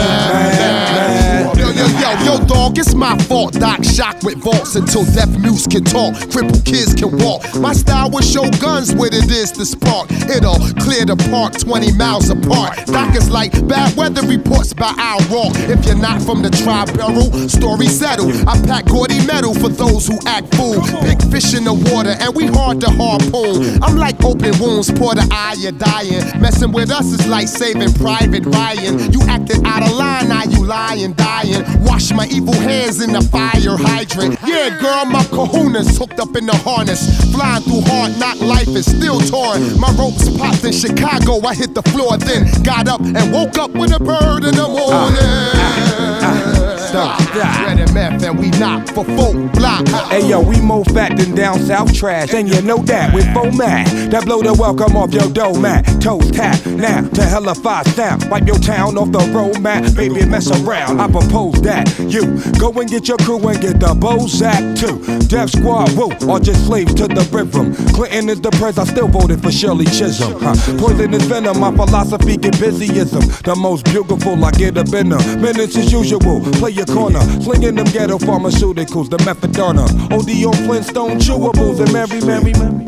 man. Yo, yo, yo, yo, dog, it's my fault. Doc shock with vaults until deaf mutes can talk, crippled kids can walk. My style will show guns what it is to spark. It'll clear the park 20 miles apart. Doc is like bad weather reports by Al Rock. If you're not from the tribe barrel, story settled. I pack gaudy metal for those who act fool. Big fish in the water, and we hard to harpoon. I'm like open wounds, pour the eye, you're dying. Messing with us is like saving Private Ryan. You acted out of line, now you lying, dying. Wash my evil hands in the fire hydrant. Yeah, girl, my kahunas hooked up in the harness. Flying through hard knock life is still torn. My ropes popped in Chicago, I hit the floor, then got up and woke up with a bird in the morning. Stop. Red MF and we knock for full block.
Hey yo, we more fat than down south trash, and you know that with format that blow the welcome off your dough mat. Toes tap now to hella five sound, wipe your town off the road mat. Baby, mess around. I propose that you go and get your crew and get the Bozak too. Death Squad woo, or just slaves to the rhythm. Clinton is the pres, I still voted for Shirley Chisholm. Huh. Poison is venom, my philosophy get busyism. The most beautiful I get up in her. Minutes as usual, play your corner. Slinging them ghetto pharmaceuticals, the methadona. OD on Flintstone chewables and Mary, Mary, Mary.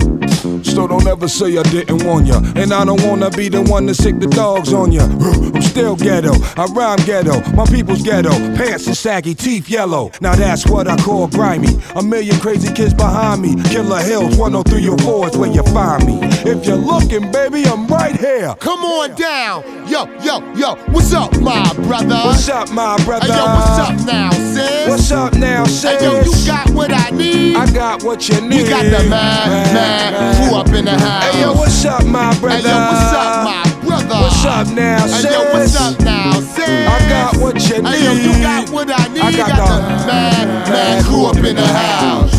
So don't ever say I didn't warn ya. And I don't wanna be the one to sick the dogs on ya. I'm still ghetto, I rhyme ghetto, my people's ghetto. Pants are saggy, teeth yellow. Now that's what I call grimy. A million crazy kids behind me. Killer Hills, 103 or 4 is where you find me. If you're looking, baby, I'm right here.
Come on down. Yo, yo, yo, what's up, my brother?
What's up, my brother?
Hey, yo, what's up now, sis?
What's up now, sis?
Hey, yo, you got what I need.
I got what you need.
we got the mad, mad crew up in the house.
Hey, yo, what's up, my brother?
Hey, yo, what's up, my brother?
What's up now,
Hey, yo, what's
sis?
up now, sis?
I got what you need.
Hey, yo, you got what I need.
I got the-
the mad, mad crew up in the house.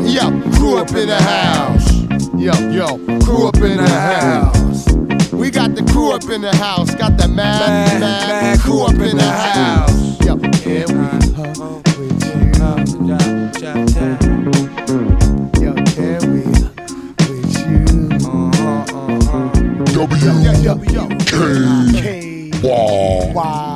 Yo, crew up in the house. Yo, yo, crew up in the house. We got the crew up in the house. Got the mad,
Mad,
mad
mad
crew up in the house. Yo, here we hug with you. Yo, can we with you? W K Y